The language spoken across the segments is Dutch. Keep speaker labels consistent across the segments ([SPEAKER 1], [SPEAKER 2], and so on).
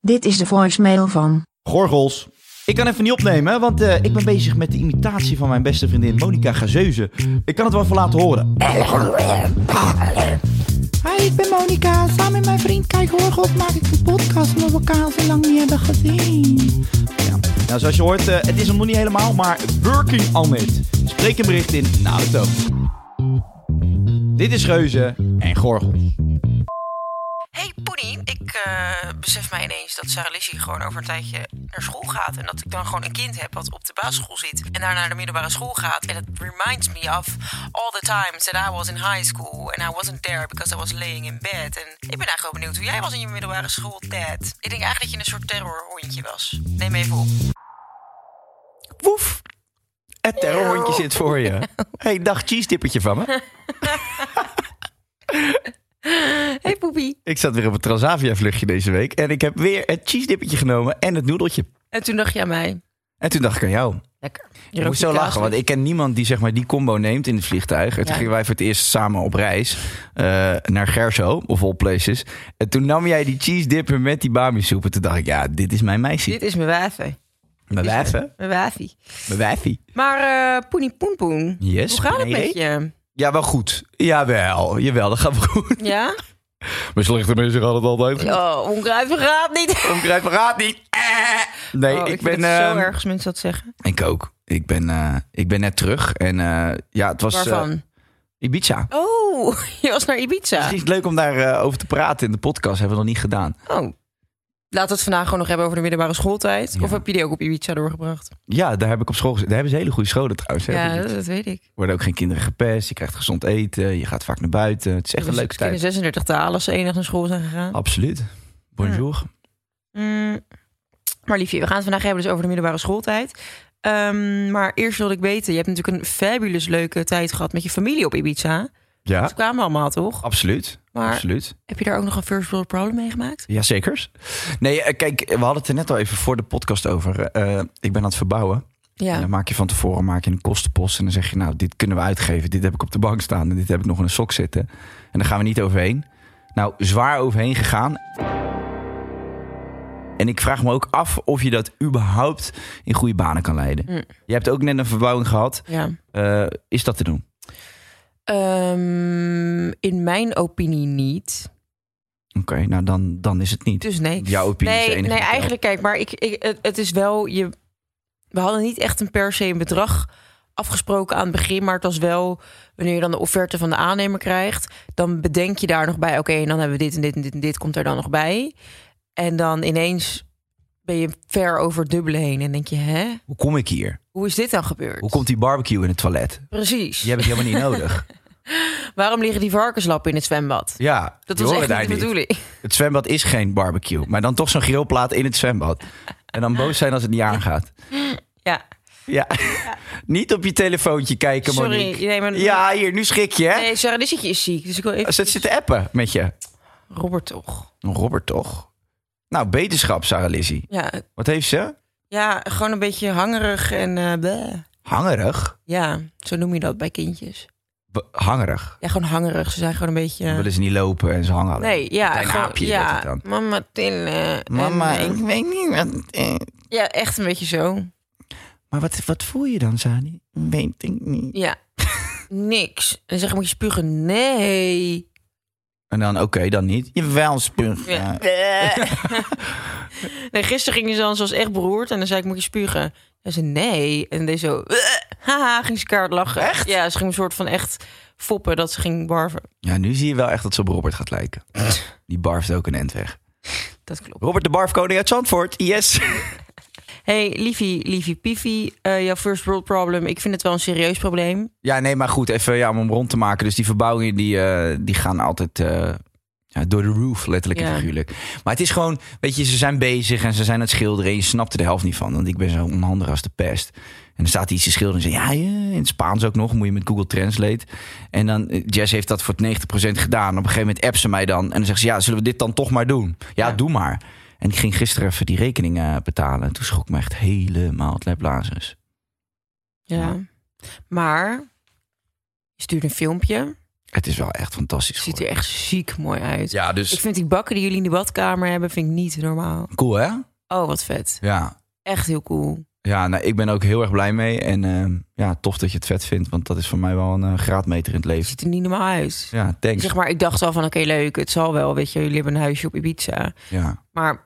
[SPEAKER 1] Dit is de voicemail van.
[SPEAKER 2] Gorgels. Ik kan even niet opnemen, hè, want eh, ik ben bezig met de imitatie van mijn beste vriendin Monica Gazeuze. Ik kan het wel even laten horen.
[SPEAKER 3] Hi, ik ben Monica. Samen met mijn vriend Kijk Horgels maak ik een podcast omdat we elkaar zo lang niet hebben gezien.
[SPEAKER 2] Nou, zoals je hoort, eh, het is hem nog niet helemaal, maar working on it. Spreek een bericht in de auto. Dit is Geuze en Gorgels.
[SPEAKER 4] Hey Poenie, ik eh, besef mij ineens dat Sarah Lizzie gewoon over een tijdje naar school gaat. En dat ik dan gewoon een kind heb wat op de basisschool zit. En daarna naar de middelbare school gaat. En het reminds me of all the times that I was in high school. And I wasn't there because I was laying in bed. En ik ben eigenlijk wel benieuwd hoe jij was in je middelbare schooltijd. Ik denk eigenlijk dat je een soort terrorhondje was. Neem even op.
[SPEAKER 2] Woef. Het terrorhondje zit voor je. hey, dag cheese dippertje van me.
[SPEAKER 4] Hey Poepie.
[SPEAKER 2] Ik zat weer op een Transavia vluchtje deze week. En ik heb weer het cheese dippertje genomen en het noedeltje.
[SPEAKER 4] En toen dacht je aan mij.
[SPEAKER 2] En toen dacht ik aan jou.
[SPEAKER 4] Lekker. Je
[SPEAKER 2] Ik
[SPEAKER 4] rookt
[SPEAKER 2] moest zo
[SPEAKER 4] die kaas
[SPEAKER 2] lachen,
[SPEAKER 4] met-
[SPEAKER 2] want ik ken niemand die zeg maar, die combo neemt in het vliegtuig. En toen
[SPEAKER 4] Ja.
[SPEAKER 2] gingen wij voor het eerst samen op reis eh, naar Gerso, of all places. En toen nam jij die cheese dipper met die bami soep. En toen dacht ik, ja, dit is mijn meisje.
[SPEAKER 4] Dit is mijn wijfie.
[SPEAKER 2] mijn wijf, hè?
[SPEAKER 4] Mijn wijfie.
[SPEAKER 2] Mijn wijfie.
[SPEAKER 4] Maar eh Poenie Poen Poen.
[SPEAKER 2] Yes,
[SPEAKER 4] Hoe gaat het
[SPEAKER 2] Poenie.
[SPEAKER 4] met je?
[SPEAKER 2] Ja, wel goed. Jawel, jawel, dat gaat wel goed.
[SPEAKER 4] Ja?
[SPEAKER 2] Maar slechte mensen gaan het altijd
[SPEAKER 4] Oh, onkruid vergaat niet.
[SPEAKER 2] Omkruid verraadt niet. Eh. Nee,
[SPEAKER 4] Oh,
[SPEAKER 2] ik,
[SPEAKER 4] ik
[SPEAKER 2] ben...
[SPEAKER 4] vind het zo
[SPEAKER 2] eh,
[SPEAKER 4] erg als mensen dat zeggen.
[SPEAKER 2] Ik ook. Ik ben, eh, ik ben net terug. En eh, ja, het was... eh,
[SPEAKER 4] Waarvan?
[SPEAKER 2] Ibiza.
[SPEAKER 4] Oh, je was naar Ibiza.
[SPEAKER 2] Misschien is het leuk om daarover over te praten in de podcast. Hebben we nog niet gedaan.
[SPEAKER 4] Oh. Laten we het vandaag gewoon nog hebben over de middelbare schooltijd. Of heb je die ook op Ibiza doorgebracht?
[SPEAKER 2] Ja, daar heb ik op school gezeten. Daar hebben ze hele goede scholen trouwens. hè.
[SPEAKER 4] ja,
[SPEAKER 2] Er
[SPEAKER 4] dat, dat weet ik.
[SPEAKER 2] worden ook geen kinderen gepest. Je krijgt gezond eten. Je gaat vaak naar buiten. Het is echt een
[SPEAKER 4] Dus
[SPEAKER 2] leuke
[SPEAKER 4] ze kunnen
[SPEAKER 2] tijd.
[SPEAKER 4] 36 talen als ze enig naar school zijn gegaan.
[SPEAKER 2] Absoluut. Bonjour.
[SPEAKER 4] Mm. Maar liefje, we gaan het vandaag hebben dus over de middelbare schooltijd. Ehm, maar eerst wilde ik weten, je hebt natuurlijk een fabulous leuke tijd gehad met je familie op Ibiza.
[SPEAKER 2] Ja,
[SPEAKER 4] Ze kwamen allemaal, toch?
[SPEAKER 2] absoluut.
[SPEAKER 4] Maar-
[SPEAKER 2] Absoluut.
[SPEAKER 4] Heb je daar ook nog een first world problem meegemaakt?
[SPEAKER 2] Jazekers. Nee, eh, kijk, we hadden het er net al even voor de podcast over. Eh, ik ben aan het verbouwen. En
[SPEAKER 4] Ja.
[SPEAKER 2] dan maak je van tevoren maak je een kostenpost. En dan zeg je, nou, dit kunnen we uitgeven. Dit heb ik op de bank staan. En dit heb ik nog in een sok zitten. En daar gaan we niet overheen. Nou, zwaar overheen gegaan. En ik vraag me ook af of je dat überhaupt in goede banen kan leiden.
[SPEAKER 4] Mm.
[SPEAKER 2] Je hebt ook net een verbouwing gehad.
[SPEAKER 4] ja.
[SPEAKER 2] Eh, is dat te doen?
[SPEAKER 4] Ehm, in mijn opinie niet.
[SPEAKER 2] Oké, nou dan, dan is het niet.
[SPEAKER 4] Dus nee.
[SPEAKER 2] Jouw opinie is de
[SPEAKER 4] Nee,
[SPEAKER 2] enige die
[SPEAKER 4] nee
[SPEAKER 2] telt.
[SPEAKER 4] eigenlijk, kijk, maar ik, ik, het, het is wel. Je, we hadden niet echt een per se een bedrag afgesproken aan het begin, maar het was wel wanneer je dan de offerte van de aannemer krijgt, dan bedenk je daar nog bij. Oké, en dan hebben we dit en dit en dit en dit komt er dan nog bij. En dan ineens ben je ver over het dubbele heen en denk je, hè,
[SPEAKER 2] Hoe kom ik hier?
[SPEAKER 4] hoe is dit dan gebeurd?
[SPEAKER 2] Hoe komt die barbecue in het toilet?
[SPEAKER 4] Precies.
[SPEAKER 2] Die heb ik helemaal niet nodig.
[SPEAKER 4] Waarom liggen die varkenslappen in het zwembad?
[SPEAKER 2] Ja,
[SPEAKER 4] Dat
[SPEAKER 2] die
[SPEAKER 4] was
[SPEAKER 2] horen
[SPEAKER 4] echt
[SPEAKER 2] daar
[SPEAKER 4] niet de bedoeling.
[SPEAKER 2] Het zwembad is geen barbecue. Maar dan toch zo'n grillplaat in het zwembad. En dan boos zijn als het niet aangaat.
[SPEAKER 4] Ja.
[SPEAKER 2] Ja. Niet op je telefoontje kijken,
[SPEAKER 4] Sorry,
[SPEAKER 2] Monique.
[SPEAKER 4] nee, maar-
[SPEAKER 2] Ja, hier, nu schrik je, hè?
[SPEAKER 4] Nee, Sarah Lissetje is ziek, dus ik wil even...
[SPEAKER 2] Ze zit te appen met je.
[SPEAKER 4] Robert toch?
[SPEAKER 2] Robert, toch? Nou, beterschap, Sarah Lizzie.
[SPEAKER 4] Ja,
[SPEAKER 2] Wat heeft ze?
[SPEAKER 4] ja gewoon een beetje hangerig en... eh, bleh.
[SPEAKER 2] Hangerig?
[SPEAKER 4] Ja, zo noem je dat bij kindjes.
[SPEAKER 2] B- hangerig.
[SPEAKER 4] Ja, gewoon hangerig. Ze zijn gewoon een beetje...
[SPEAKER 2] Willen ze niet lopen en ze hangen alleen.
[SPEAKER 4] nee, ja.
[SPEAKER 2] Klein
[SPEAKER 4] gewoon-
[SPEAKER 2] aapje werd
[SPEAKER 4] ja,
[SPEAKER 2] het dan.
[SPEAKER 4] Mama tillen. en,
[SPEAKER 2] Mama,
[SPEAKER 4] eh,
[SPEAKER 2] ik weet niet wat... eh,
[SPEAKER 4] ja, echt een beetje zo.
[SPEAKER 2] Maar wat, wat voel je dan, Zani? Weet ik niet.
[SPEAKER 4] Ja. Niks. En dan zeggen moet je spugen. Nee.
[SPEAKER 2] En dan, oké, dan niet. Je welspunt.
[SPEAKER 4] Ja.
[SPEAKER 2] Ja.
[SPEAKER 4] Nee, gisteren ging ze dan, ze was echt beroerd. En dan zei ik, moet je spugen? En ze nee. En deed zo, haha, ging ze kaart lachen. Echt? Ja, ze ging een soort van echt foppen dat ze ging barven.
[SPEAKER 2] ja, nu zie je wel echt dat ze op Robert gaat lijken. Die barft ook een end weg.
[SPEAKER 4] Dat klopt.
[SPEAKER 2] Robert de barfkoning uit Zandvoort. Yes.
[SPEAKER 4] Hey, liefie, liefie, piefie. eh, jouw first world problem. Ik vind het wel een serieus probleem.
[SPEAKER 2] Ja, nee, maar goed, even ja, om hem rond te maken. Dus die verbouwingen die, eh, die gaan altijd eh, ja, door de roof, letterlijk en
[SPEAKER 4] Ja.
[SPEAKER 2] figuurlijk. Maar het is gewoon, weet je, ze zijn bezig en ze zijn aan het schilderen. En je snapt er de helft niet van, want ik ben zo onhandig als de pest. En dan staat hij iets te schilderen en zegt, ja, ja, in het Spaans ook nog, moet je met Google Translate. En dan, eh, Jess heeft dat voor het 90% gedaan. Op een gegeven moment appt ze mij dan. En dan zegt ze, ja, zullen we dit dan toch maar doen? Ja,
[SPEAKER 4] Ja.
[SPEAKER 2] doe maar. En ik ging gisteren even die rekening eh, betalen. En toen schrok me echt helemaal het lijplazers.
[SPEAKER 4] Ja.
[SPEAKER 2] Ja.
[SPEAKER 4] Maar je stuurt een filmpje.
[SPEAKER 2] Het is wel echt fantastisch
[SPEAKER 4] Ziet er
[SPEAKER 2] geworden.
[SPEAKER 4] echt ziek mooi uit.
[SPEAKER 2] Ja, dus...
[SPEAKER 4] Ik vind die bakken die jullie in de badkamer hebben, vind ik niet normaal.
[SPEAKER 2] Cool, hè?
[SPEAKER 4] Oh, wat vet.
[SPEAKER 2] Ja.
[SPEAKER 4] Echt heel cool.
[SPEAKER 2] Ja, nou, ik ben ook heel erg blij mee. En ehm, ja, tof dat je het vet vindt, want dat is voor mij wel een eh, graadmeter in het
[SPEAKER 4] Het
[SPEAKER 2] leven.
[SPEAKER 4] ziet er niet normaal uit.
[SPEAKER 2] Ja, thanks.
[SPEAKER 4] Zeg maar, ik dacht al van oké, leuk. Het zal wel, weet je, jullie hebben een huisje op Ibiza.
[SPEAKER 2] ja.
[SPEAKER 4] Maar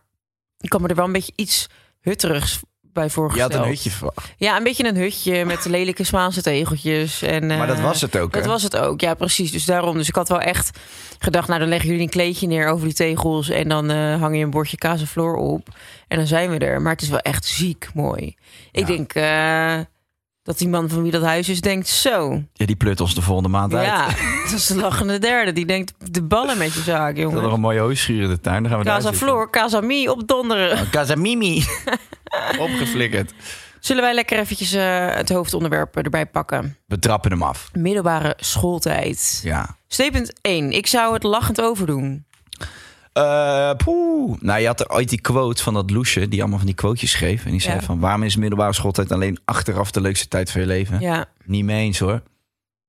[SPEAKER 4] ik kan me er wel een beetje iets hutterigs bij
[SPEAKER 2] Je
[SPEAKER 4] voorgesteld.
[SPEAKER 2] had een hutje verwacht.
[SPEAKER 4] Ja, een beetje een hutje met lelijke Spaanse tegeltjes. En,
[SPEAKER 2] maar dat
[SPEAKER 4] eh,
[SPEAKER 2] was het ook,
[SPEAKER 4] Dat
[SPEAKER 2] hè?
[SPEAKER 4] was het ook, ja precies. Dus daarom, dus ik had wel echt gedacht... nou, dan leggen jullie een kleedje neer over die tegels... en dan eh, hang je een bordje kaas en floor op. En dan zijn we er. Maar het is wel echt ziek mooi. Ik
[SPEAKER 2] Ja.
[SPEAKER 4] denk eh, dat die man van wie dat huis is denkt... zo,
[SPEAKER 2] Ja, die plut ons de volgende maand uit.
[SPEAKER 4] ja, dat is de lachende derde. Die denkt, de ballen met je zaak,
[SPEAKER 2] We hadden nog
[SPEAKER 4] jongen.
[SPEAKER 2] een mooie hooischuur in de tuin, dan gaan we daar
[SPEAKER 4] Kaas en
[SPEAKER 2] zitten.
[SPEAKER 4] floor, kaas en mie, opdonderen.
[SPEAKER 2] Oh, Casamimi. Opgeflikkerd.
[SPEAKER 4] Zullen wij lekker eventjes eh, het hoofdonderwerp erbij pakken?
[SPEAKER 2] We trappen hem af.
[SPEAKER 4] Middelbare schooltijd.
[SPEAKER 2] Ja.
[SPEAKER 4] Statement 1. Ik zou het lachend overdoen.
[SPEAKER 2] Eh, poeh. Nou, je had er ooit die quote van dat loesje, die allemaal van die quotejes schreef. En die zei
[SPEAKER 4] Ja.
[SPEAKER 2] van, waarom is middelbare schooltijd alleen achteraf de leukste tijd van je leven?
[SPEAKER 4] Ja.
[SPEAKER 2] Niet mee eens, hoor.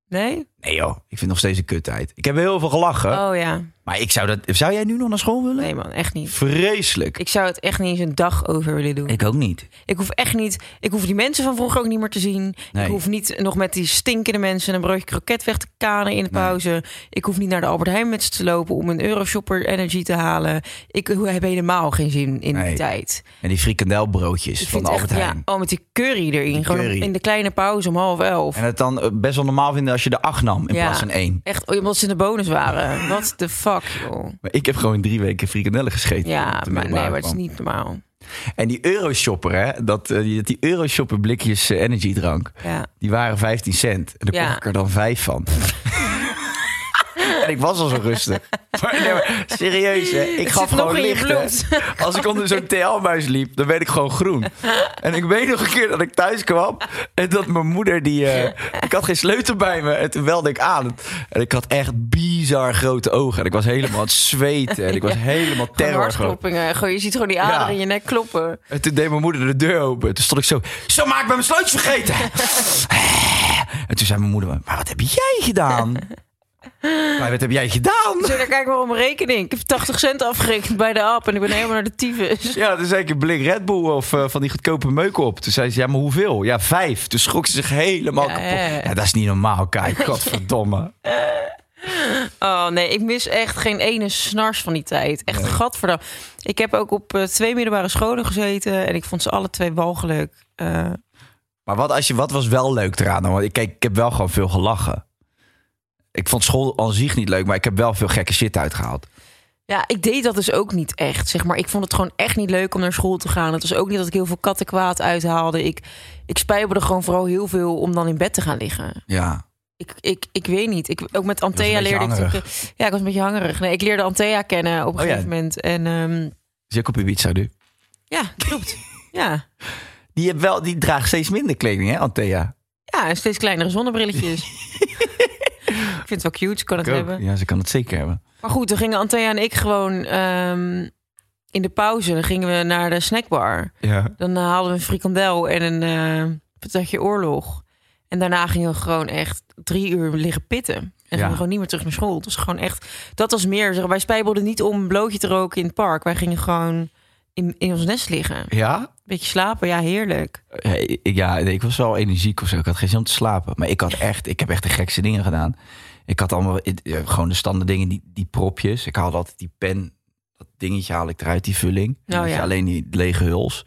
[SPEAKER 4] Nee?
[SPEAKER 2] Nee joh, ik vind nog steeds een kuttijd. Ik heb heel veel gelachen,
[SPEAKER 4] Oh ja.
[SPEAKER 2] maar ik zou dat... Zou jij nu nog naar school willen?
[SPEAKER 4] Nee man, echt niet.
[SPEAKER 2] Vreselijk.
[SPEAKER 4] Ik zou het echt niet eens een dag over willen doen. Ik,
[SPEAKER 2] ook niet.
[SPEAKER 4] hoef echt niet... Ik hoef die mensen van vroeger ook niet meer te zien.
[SPEAKER 2] Nee.
[SPEAKER 4] Ik hoef niet nog met die stinkende mensen... een broodje kroket weg te kanen in de
[SPEAKER 2] Nee.
[SPEAKER 4] pauze. Ik hoef niet naar de Albert Heijn met ze te lopen... om een Euroshopper energy te halen. Ik heb helemaal geen zin in
[SPEAKER 2] Nee.
[SPEAKER 4] die tijd.
[SPEAKER 2] En die frikandelbroodjes van
[SPEAKER 4] Ik vind
[SPEAKER 2] de
[SPEAKER 4] het
[SPEAKER 2] Albert
[SPEAKER 4] echt...
[SPEAKER 2] Heijn.
[SPEAKER 4] Ja, oh, met die curry erin.
[SPEAKER 2] Die
[SPEAKER 4] Gewoon
[SPEAKER 2] curry.
[SPEAKER 4] in de kleine pauze om half elf.
[SPEAKER 2] En het dan eh, best wel normaal vinden als je de acht nam in
[SPEAKER 4] Ja.
[SPEAKER 2] plaats van één.
[SPEAKER 4] Echt, oh, omdat ze in de bonus waren. What the fuck, joh.
[SPEAKER 2] Maar ik heb gewoon drie weken frikandellen gescheten. toen ik
[SPEAKER 4] Ja,
[SPEAKER 2] op de
[SPEAKER 4] maar nee,
[SPEAKER 2] middelbare
[SPEAKER 4] maar het is
[SPEAKER 2] kwam.
[SPEAKER 4] niet normaal.
[SPEAKER 2] En die euroshopper, hè, dat, eh, die, die euroshopper blikjes eh, energiedrank,
[SPEAKER 4] Ja.
[SPEAKER 2] die waren 15 cent. En daar
[SPEAKER 4] Ja.
[SPEAKER 2] kocht ik er dan vijf van. en ik was al zo rustig. Maar, nee, maar serieus, hè, ik
[SPEAKER 4] Het
[SPEAKER 2] gaf
[SPEAKER 4] zit nog
[SPEAKER 2] gewoon
[SPEAKER 4] in je
[SPEAKER 2] licht. hè.
[SPEAKER 4] bloed.
[SPEAKER 2] Als ik onder zo'n TL-muis liep, dan werd ik gewoon groen. En ik weet nog een keer dat ik thuis kwam en dat mijn moeder die... eh, ik had geen sleutel bij me en toen belde ik aan. En ik had echt bizar grote ogen. En ik was helemaal aan het zweten en ik was helemaal
[SPEAKER 4] Gewoon
[SPEAKER 2] terror. gewoon.
[SPEAKER 4] hartkloppingen. Gewoon, je ziet gewoon die aderen
[SPEAKER 2] Ja.
[SPEAKER 4] in je nek kloppen.
[SPEAKER 2] En toen deed mijn moeder de deur open. Toen stond ik zo... Zo, maar ik ben mijn sleutels vergeten. en toen zei mijn moeder... Maar wat heb jij gedaan? maar wat heb jij gedaan?
[SPEAKER 4] Zo, dan kijk maar op mijn rekening. Ik heb 80 cent afgerekend bij de app en ik ben helemaal naar de tyfus.
[SPEAKER 2] Ja, toen zei ik een blik Red Bull of eh, van die goedkope meuken op. Toen zei ze, ja, maar hoeveel? Ja, vijf. Toen schrok ze zich helemaal
[SPEAKER 4] Ja,
[SPEAKER 2] kapot.
[SPEAKER 4] ja, ja.
[SPEAKER 2] Ja, dat is niet normaal, Kai. Godverdomme.
[SPEAKER 4] Oh nee, ik mis echt geen ene snars van die tijd. Echt gadverdamme. Ik heb ook op eh, twee middelbare scholen gezeten en ik vond ze alle twee walgelijk. Eh,
[SPEAKER 2] Maar wat, als je, wat was wel leuk eraan? dan? Want ik, kijk, ik heb wel gewoon veel gelachen. Ik vond school aan zich niet leuk, maar ik heb wel veel gekke shit uitgehaald.
[SPEAKER 4] ja, ik deed dat dus ook niet echt, zeg maar. Ik vond het gewoon echt niet leuk om naar school te gaan. Het was ook niet dat ik heel veel kattenkwaad uithaalde. Ik, ik spijbelde gewoon vooral heel veel om dan in bed te gaan liggen.
[SPEAKER 2] Ja.
[SPEAKER 4] ik, ik, ik weet niet. Ik, ook met
[SPEAKER 2] was een
[SPEAKER 4] Antea
[SPEAKER 2] beetje
[SPEAKER 4] leerde ik... toch- Ja, ik was een beetje hangerig. Nee, ik leerde Antea kennen op een
[SPEAKER 2] Oh ja.
[SPEAKER 4] gegeven moment. En ehm,
[SPEAKER 2] Is ook op Ibiza nu?
[SPEAKER 4] ja, klopt. ja.
[SPEAKER 2] Die, hebt wel, die draagt steeds minder kleding, hè, Antea?
[SPEAKER 4] ja, en steeds kleinere zonnebrilletjes. ik vind het wel cute, ze kan het
[SPEAKER 2] Ik ook.
[SPEAKER 4] hebben.
[SPEAKER 2] Ja, ze kan het zeker hebben.
[SPEAKER 4] Maar goed, dan gingen Antea en ik gewoon ehm, in de pauze... dan gingen we naar de snackbar.
[SPEAKER 2] Ja.
[SPEAKER 4] Dan eh, haalden we een frikandel en een eh patatje oorlog. En daarna gingen we gewoon echt drie uur liggen pitten. En
[SPEAKER 2] Ja.
[SPEAKER 4] gingen we gewoon niet meer terug naar school. Het was gewoon echt... Dat was meer... Zeg, wij spijbelden niet om een blootje te roken in het park. Wij gingen gewoon in, in ons nest liggen.
[SPEAKER 2] Ja?
[SPEAKER 4] Beetje slapen, ja, heerlijk.
[SPEAKER 2] Ja, ik- ja, nee, ik was wel energiek of zo. Ik had geen zin om te slapen. Maar ik had echt, ik heb echt de gekste dingen gedaan. Ik had allemaal ik- ja, gewoon de standaard dingen, die, die propjes. Ik haalde altijd die pen, dat dingetje haal ik eruit, die vulling. En
[SPEAKER 4] Oh,
[SPEAKER 2] had je
[SPEAKER 4] ja.
[SPEAKER 2] alleen die lege huls.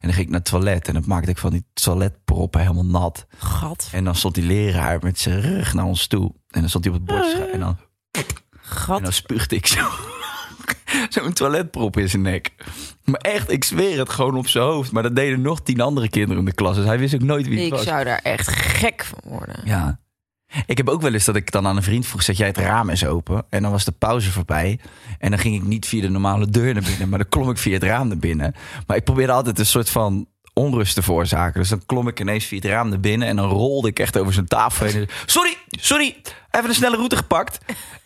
[SPEAKER 2] En dan ging ik naar het toilet en dan maakte ik van die toiletproppen helemaal nat.
[SPEAKER 4] Gad,
[SPEAKER 2] En dan stond die leraar met zijn rug naar ons toe. En dan stond hij op het bord te schrijven. En dan, en dan
[SPEAKER 4] gad.
[SPEAKER 2] spuugde ik zo. Zo'n toiletprop in zijn nek. Maar echt, ik zweer het gewoon op zijn hoofd. Maar dat deden nog tien andere kinderen in de klas. Dus hij wist ook nooit wie het
[SPEAKER 4] Ik
[SPEAKER 2] was.
[SPEAKER 4] zou daar echt gek van worden.
[SPEAKER 2] Ja. Ik heb ook wel eens dat ik dan aan een vriend vroeg: zet jij het raam eens open? En dan was de pauze voorbij. En dan ging ik niet via de normale deur naar binnen, maar dan klom ik via het raam naar binnen. Maar ik probeerde altijd een soort van onrust te veroorzaken. Dus dan klom ik ineens via het raam naar binnen en dan rolde ik echt over zijn tafel heen. En sorry, sorry, even een snelle route gepakt.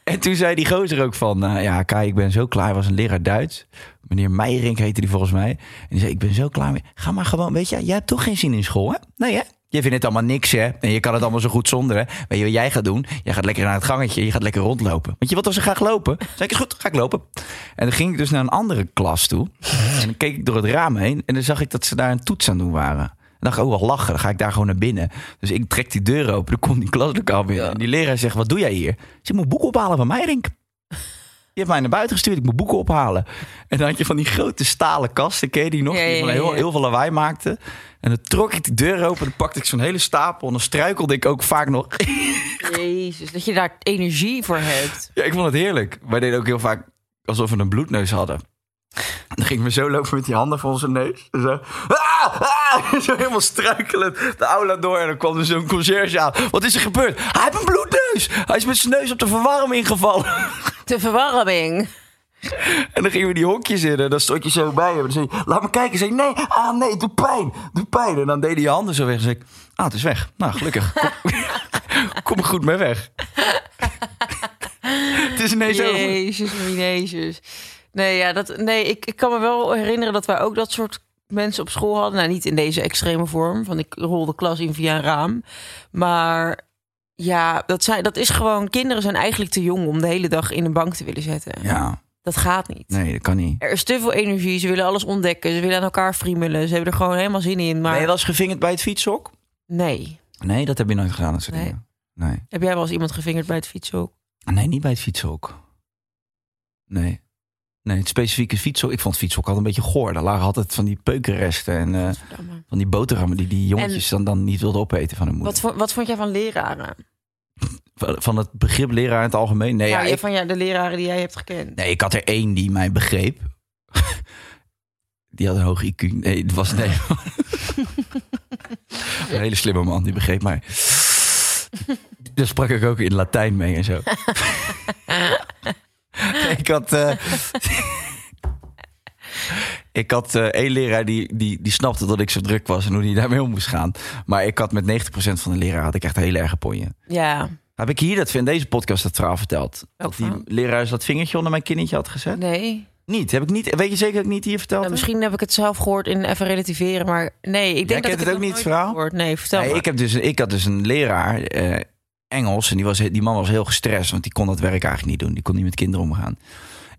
[SPEAKER 2] En toen zei die gozer ook van, nou ja, Kai, ik ben zo klaar. Hij was een leraar Duits. Meneer Meijerink heette die volgens mij. En die zei, ik ben zo klaar. mee. Ga maar gewoon, weet je, jij hebt toch geen zin in school, hè? Nee, hè? Je vindt het allemaal niks, hè? En je kan het allemaal zo goed zonder, hè? Weet je wat jij gaat doen? Jij gaat lekker naar het gangetje, je gaat lekker rondlopen. Want je wilt als ze graag lopen. Zeg ik, is goed, ga ik lopen. En dan ging ik dus naar een andere klas toe. En dan keek ik door het raam heen en dan zag ik dat ze daar een toets aan het doen waren. En dacht ik, oh, wel lachen, dan ga ik daar gewoon naar binnen. Dus ik trek die deur open, dan komt die klaslokaal binnen. En die leraar zegt, wat doe jij hier? Ze moet boeken ophalen van Meijerink. Die heeft mij naar buiten gestuurd, ik moet boeken ophalen. En dan had je van die grote stalen kasten, ken je die nog?
[SPEAKER 4] Ja,
[SPEAKER 2] die
[SPEAKER 4] ja,
[SPEAKER 2] van heel,
[SPEAKER 4] ja.
[SPEAKER 2] heel veel lawaai maakten. En dan trok ik die deur open, dan pakte ik zo'n hele stapel... en dan struikelde ik ook vaak nog
[SPEAKER 4] Jezus, dat je daar energie voor hebt.
[SPEAKER 2] Ja, ik vond het heerlijk. Wij deden ook heel vaak alsof we een bloedneus hadden. Dan gingen we zo lopen met die handen voor onze neus. En Zo, ah, ah, zo helemaal struikelend de aula door. En dan kwam er zo'n conciërge aan. Wat is er gebeurd? Hij heeft een bloedneus. Hij is met zijn neus op de verwarming gevallen.
[SPEAKER 4] De verwarming.
[SPEAKER 2] En dan gingen we die hokjes in. En dan stond je zo bij hem. En dan zei je, laat me kijken. Zei je, nee, ah nee, doe pijn. Doe pijn. En dan deed hij je handen zo weg. En zei ik, ah, het is weg. Nou, gelukkig. Kom, kom er goed mee weg. het is ineens over.
[SPEAKER 4] Jezus, Jezus. Nee, ja, dat, nee ik, ik kan me wel herinneren dat wij ook dat soort mensen op school hadden. Nou, niet in deze extreme vorm, want ik rolde klas in via een raam. Maar ja, dat, zijn, dat is gewoon... Kinderen zijn eigenlijk te jong om de hele dag in een bank te willen zetten.
[SPEAKER 2] Ja,
[SPEAKER 4] Dat gaat niet.
[SPEAKER 2] Nee, dat kan niet.
[SPEAKER 4] Er is te veel energie, ze willen alles ontdekken. Ze willen aan elkaar friemelen, ze hebben er gewoon helemaal zin in.
[SPEAKER 2] Ben je
[SPEAKER 4] Maar
[SPEAKER 2] wel eens gevingerd bij het fietshok?
[SPEAKER 4] nee.
[SPEAKER 2] Nee, dat heb je nooit gedaan. Dat soort
[SPEAKER 4] Nee.
[SPEAKER 2] dingen. Nee.
[SPEAKER 4] Heb jij wel eens iemand gevingerd bij het fietshok?
[SPEAKER 2] nee, niet bij het fietshok. Nee. Nee, het specifieke fietshok. Ik vond het fietshok altijd een beetje goor. Daar lagen altijd van die peukenresten en eh,
[SPEAKER 4] Godverdamme.
[SPEAKER 2] van die boterhammen die die jongetjes dan, dan niet wilden opeten van hun moeder.
[SPEAKER 4] Wat, vo- wat vond jij van leraren?
[SPEAKER 2] Van- Van het begrip leraar in het algemeen? Nee,
[SPEAKER 4] Nou,
[SPEAKER 2] ja,
[SPEAKER 4] je-
[SPEAKER 2] ik,
[SPEAKER 4] Van ja, de leraren die jij hebt gekend.
[SPEAKER 2] nee, ik had er één die mij begreep. die had een hoog IQ. Nee, het was nee. een hele slimme man, die begreep mij. Daar sprak ik ook in Latijn mee en zo. ik had. eh, ik had eh, één leraar die, die, die snapte dat ik zo druk was en hoe die daarmee om moest gaan. Maar ik had met 90% van de leraar had ik echt heel erg ponje.
[SPEAKER 4] Ja,
[SPEAKER 2] Heb ik hier dat in deze podcast dat verhaal verteld? dat die
[SPEAKER 4] verhaal?
[SPEAKER 2] leraar eens dat vingertje onder mijn kindertje had gezet?
[SPEAKER 4] nee.
[SPEAKER 2] Niet. Heb ik niet. Weet je zeker dat ik niet hier verteld? heb?
[SPEAKER 4] Nou, misschien heb ik het zelf gehoord in even relativeren, maar nee, ik denk
[SPEAKER 2] Jij
[SPEAKER 4] dat
[SPEAKER 2] kent
[SPEAKER 4] ik
[SPEAKER 2] het ook niet,
[SPEAKER 4] nog nooit
[SPEAKER 2] het verhaal?
[SPEAKER 4] heb gehoord. Nee, vertel
[SPEAKER 2] Nee,
[SPEAKER 4] maar.
[SPEAKER 2] ik, heb dus, ik had dus een leraar eh, Engels. En die, was, die man was heel gestrest. Want die kon dat werk eigenlijk niet doen. Die kon niet met kinderen omgaan.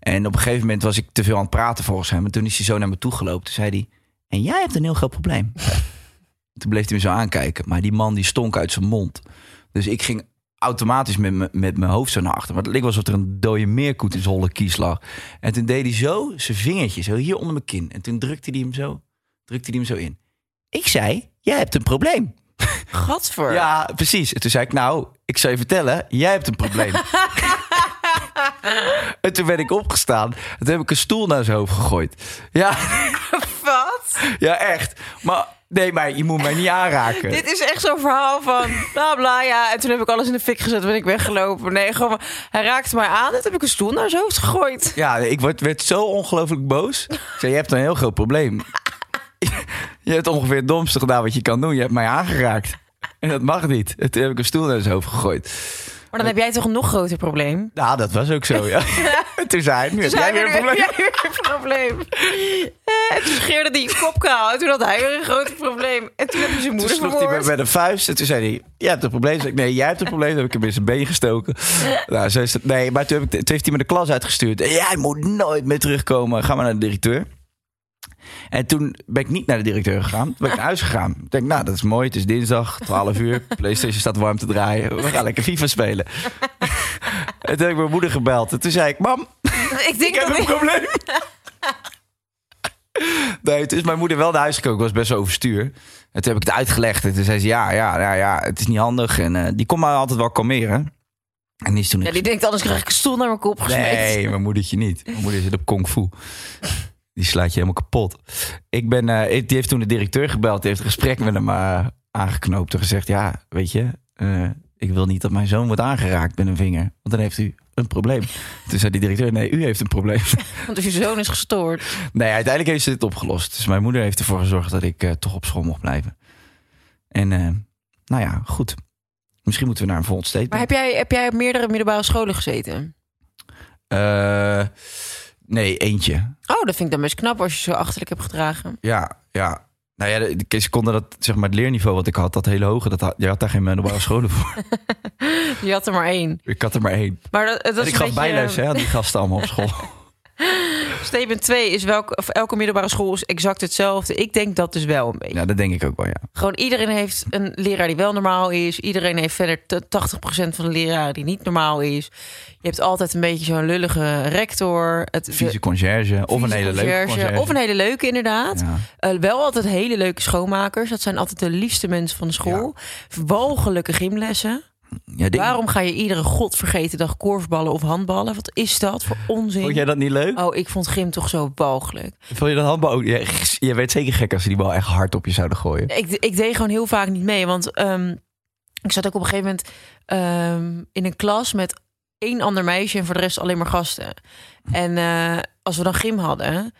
[SPEAKER 2] En op een gegeven moment was ik te veel aan het praten volgens hem. En toen is hij zo naar me toe gelopen. Toen zei hij: En jij hebt een heel groot probleem. toen bleef hij me zo aankijken. Maar die man die stonk uit zijn mond. Dus ik ging automatisch met, me- met mijn hoofd zo naar achter. Want het leek wel alsof er een dode meerkoet in zijn holle kies lag. En toen deed hij zo zijn vingertje, zo hier onder mijn kin. En toen drukte hij hem zo, drukte hij hem zo in. Ik zei, jij hebt een probleem.
[SPEAKER 4] Gadver.
[SPEAKER 2] Ja, precies. En toen zei ik, nou, ik zou je vertellen, jij hebt een probleem. en toen ben ik opgestaan. En toen heb ik een stoel naar zijn hoofd gegooid. Ja,
[SPEAKER 4] Wat?
[SPEAKER 2] ja echt. Maar nee, maar je moet mij niet aanraken.
[SPEAKER 4] Dit is echt zo'n verhaal van bla bla ja. En toen heb ik alles in de fik gezet en ben ik weggelopen. Nee, gewoon, hij raakte mij aan en toen heb ik een stoel naar zijn hoofd gegooid.
[SPEAKER 2] Ja, ik werd, werd zo ongelooflijk boos. Ik zei, je hebt een heel groot probleem. je hebt ongeveer het domste gedaan wat je kan doen. Je hebt mij aangeraakt. En dat mag niet. En toen heb ik een stoel naar zijn hoofd gegooid.
[SPEAKER 4] Maar dan heb jij toch een nog groter probleem?
[SPEAKER 2] Nou, dat was ook zo, ja. En toen zei hij, nu heb
[SPEAKER 4] Dus
[SPEAKER 2] jij
[SPEAKER 4] hij
[SPEAKER 2] weer een
[SPEAKER 4] weer-
[SPEAKER 2] probleem.
[SPEAKER 4] jij weer een probleem. Eh, en toen scheerde hij je kop kaal. En toen had hij weer een groot probleem. En toen heb je zijn
[SPEAKER 2] Toen
[SPEAKER 4] moeder
[SPEAKER 2] sloeg hij me
[SPEAKER 4] vermoord.
[SPEAKER 2] met een vuist. En toen zei hij, jij hebt een probleem. Toen zei ik, nee, jij hebt een probleem. Toen heb ik hem in zijn been gestoken. Nou, zo is het. Nee, maar toen, heb ik, toen heeft hij me de klas uitgestuurd. Jij moet nooit meer terugkomen. Ga maar naar de directeur. En toen ben ik niet naar de directeur gegaan. Toen ben ik naar huis gegaan. Ik denk, nou, dat is mooi. Het is dinsdag, 12 uur. PlayStation staat warm te draaien. We gaan lekker FIFA spelen. En toen heb ik mijn moeder gebeld. En toen zei ik, mam,
[SPEAKER 4] Ik
[SPEAKER 2] ik
[SPEAKER 4] denk
[SPEAKER 2] heb
[SPEAKER 4] dat
[SPEAKER 2] een
[SPEAKER 4] ik...
[SPEAKER 2] probleem. Nee, toen is mijn moeder wel naar huis gekomen. Ik was best wel overstuur. En toen heb ik het uitgelegd. En toen zei ze, ja, ja, ja, ja het is niet handig. En eh, die kon me altijd wel kalmeren. En die is toen...
[SPEAKER 4] Ja, die denkt, anders krijg ik een stoel naar mijn kop gesmeed.
[SPEAKER 2] Nee, mijn moedertje niet. Mijn moeder zit op kung fu. Die slaat je helemaal kapot. Ik ben, eh, die heeft toen de directeur gebeld. Die heeft een gesprek met hem eh, aangeknoopt. En gezegd, ja, weet je... eh, ik wil niet dat mijn zoon wordt aangeraakt met een vinger. Want dan heeft u een probleem. Toen zei die directeur, nee, u heeft een probleem.
[SPEAKER 4] Want je zoon is gestoord.
[SPEAKER 2] Nee, uiteindelijk heeft ze dit opgelost. Dus mijn moeder heeft ervoor gezorgd dat ik eh, toch op school mocht blijven. En eh, nou ja, goed. Misschien moeten we naar een volgend statement.
[SPEAKER 4] Maar heb jij, heb jij op meerdere middelbare scholen gezeten?
[SPEAKER 2] Eh, nee, eentje.
[SPEAKER 4] Oh, dat vind ik dan best knap als je zo achterlijk hebt gedragen.
[SPEAKER 2] Ja, ja. Nou ja, de- de- ze konden dat, zeg maar, het leerniveau wat ik had, dat hele hoge, dat, had- je had daar geen middelbare scholen voor.
[SPEAKER 4] Je had er maar één.
[SPEAKER 2] Ik had er maar één.
[SPEAKER 4] Maar dat, dat
[SPEAKER 2] en
[SPEAKER 4] is
[SPEAKER 2] ik gaf
[SPEAKER 4] een beetje, eh,
[SPEAKER 2] bijles hè, aan die gasten allemaal op school.
[SPEAKER 4] Statement 2 is welke, of elke middelbare school is exact hetzelfde. Ik denk dat dus wel een beetje.
[SPEAKER 2] ja, dat denk ik ook wel, ja.
[SPEAKER 4] Gewoon iedereen heeft een leraar die wel normaal is. Iedereen heeft verder t- 80% van de leraren die niet normaal is. Je hebt altijd een beetje zo'n lullige rector. Het, de-
[SPEAKER 2] Vieze conciërge, of een
[SPEAKER 4] vieze
[SPEAKER 2] hele leuke
[SPEAKER 4] conciërge.
[SPEAKER 2] conciërge.
[SPEAKER 4] Of een hele leuke, inderdaad.
[SPEAKER 2] Ja.
[SPEAKER 4] Eh, wel altijd hele leuke schoonmakers. Dat zijn altijd de liefste mensen van de school. Walgelijke gymlessen.
[SPEAKER 2] Ja, dit-
[SPEAKER 4] Waarom ga je iedere godvergeten dag korfballen of handballen? Wat is dat voor onzin?
[SPEAKER 2] Vond jij dat niet leuk?
[SPEAKER 4] Oh, ik vond gym toch zo walgelijk.
[SPEAKER 2] Vond je dat handbal ook? Je, je werd zeker gek als ze die bal echt hard op je zouden gooien.
[SPEAKER 4] Ik, ik deed gewoon heel vaak niet mee. Want ehm, ik zat ook op een gegeven moment ehm, in een klas met één ander meisje en voor de rest alleen maar gasten. En eh, als we dan gym hadden,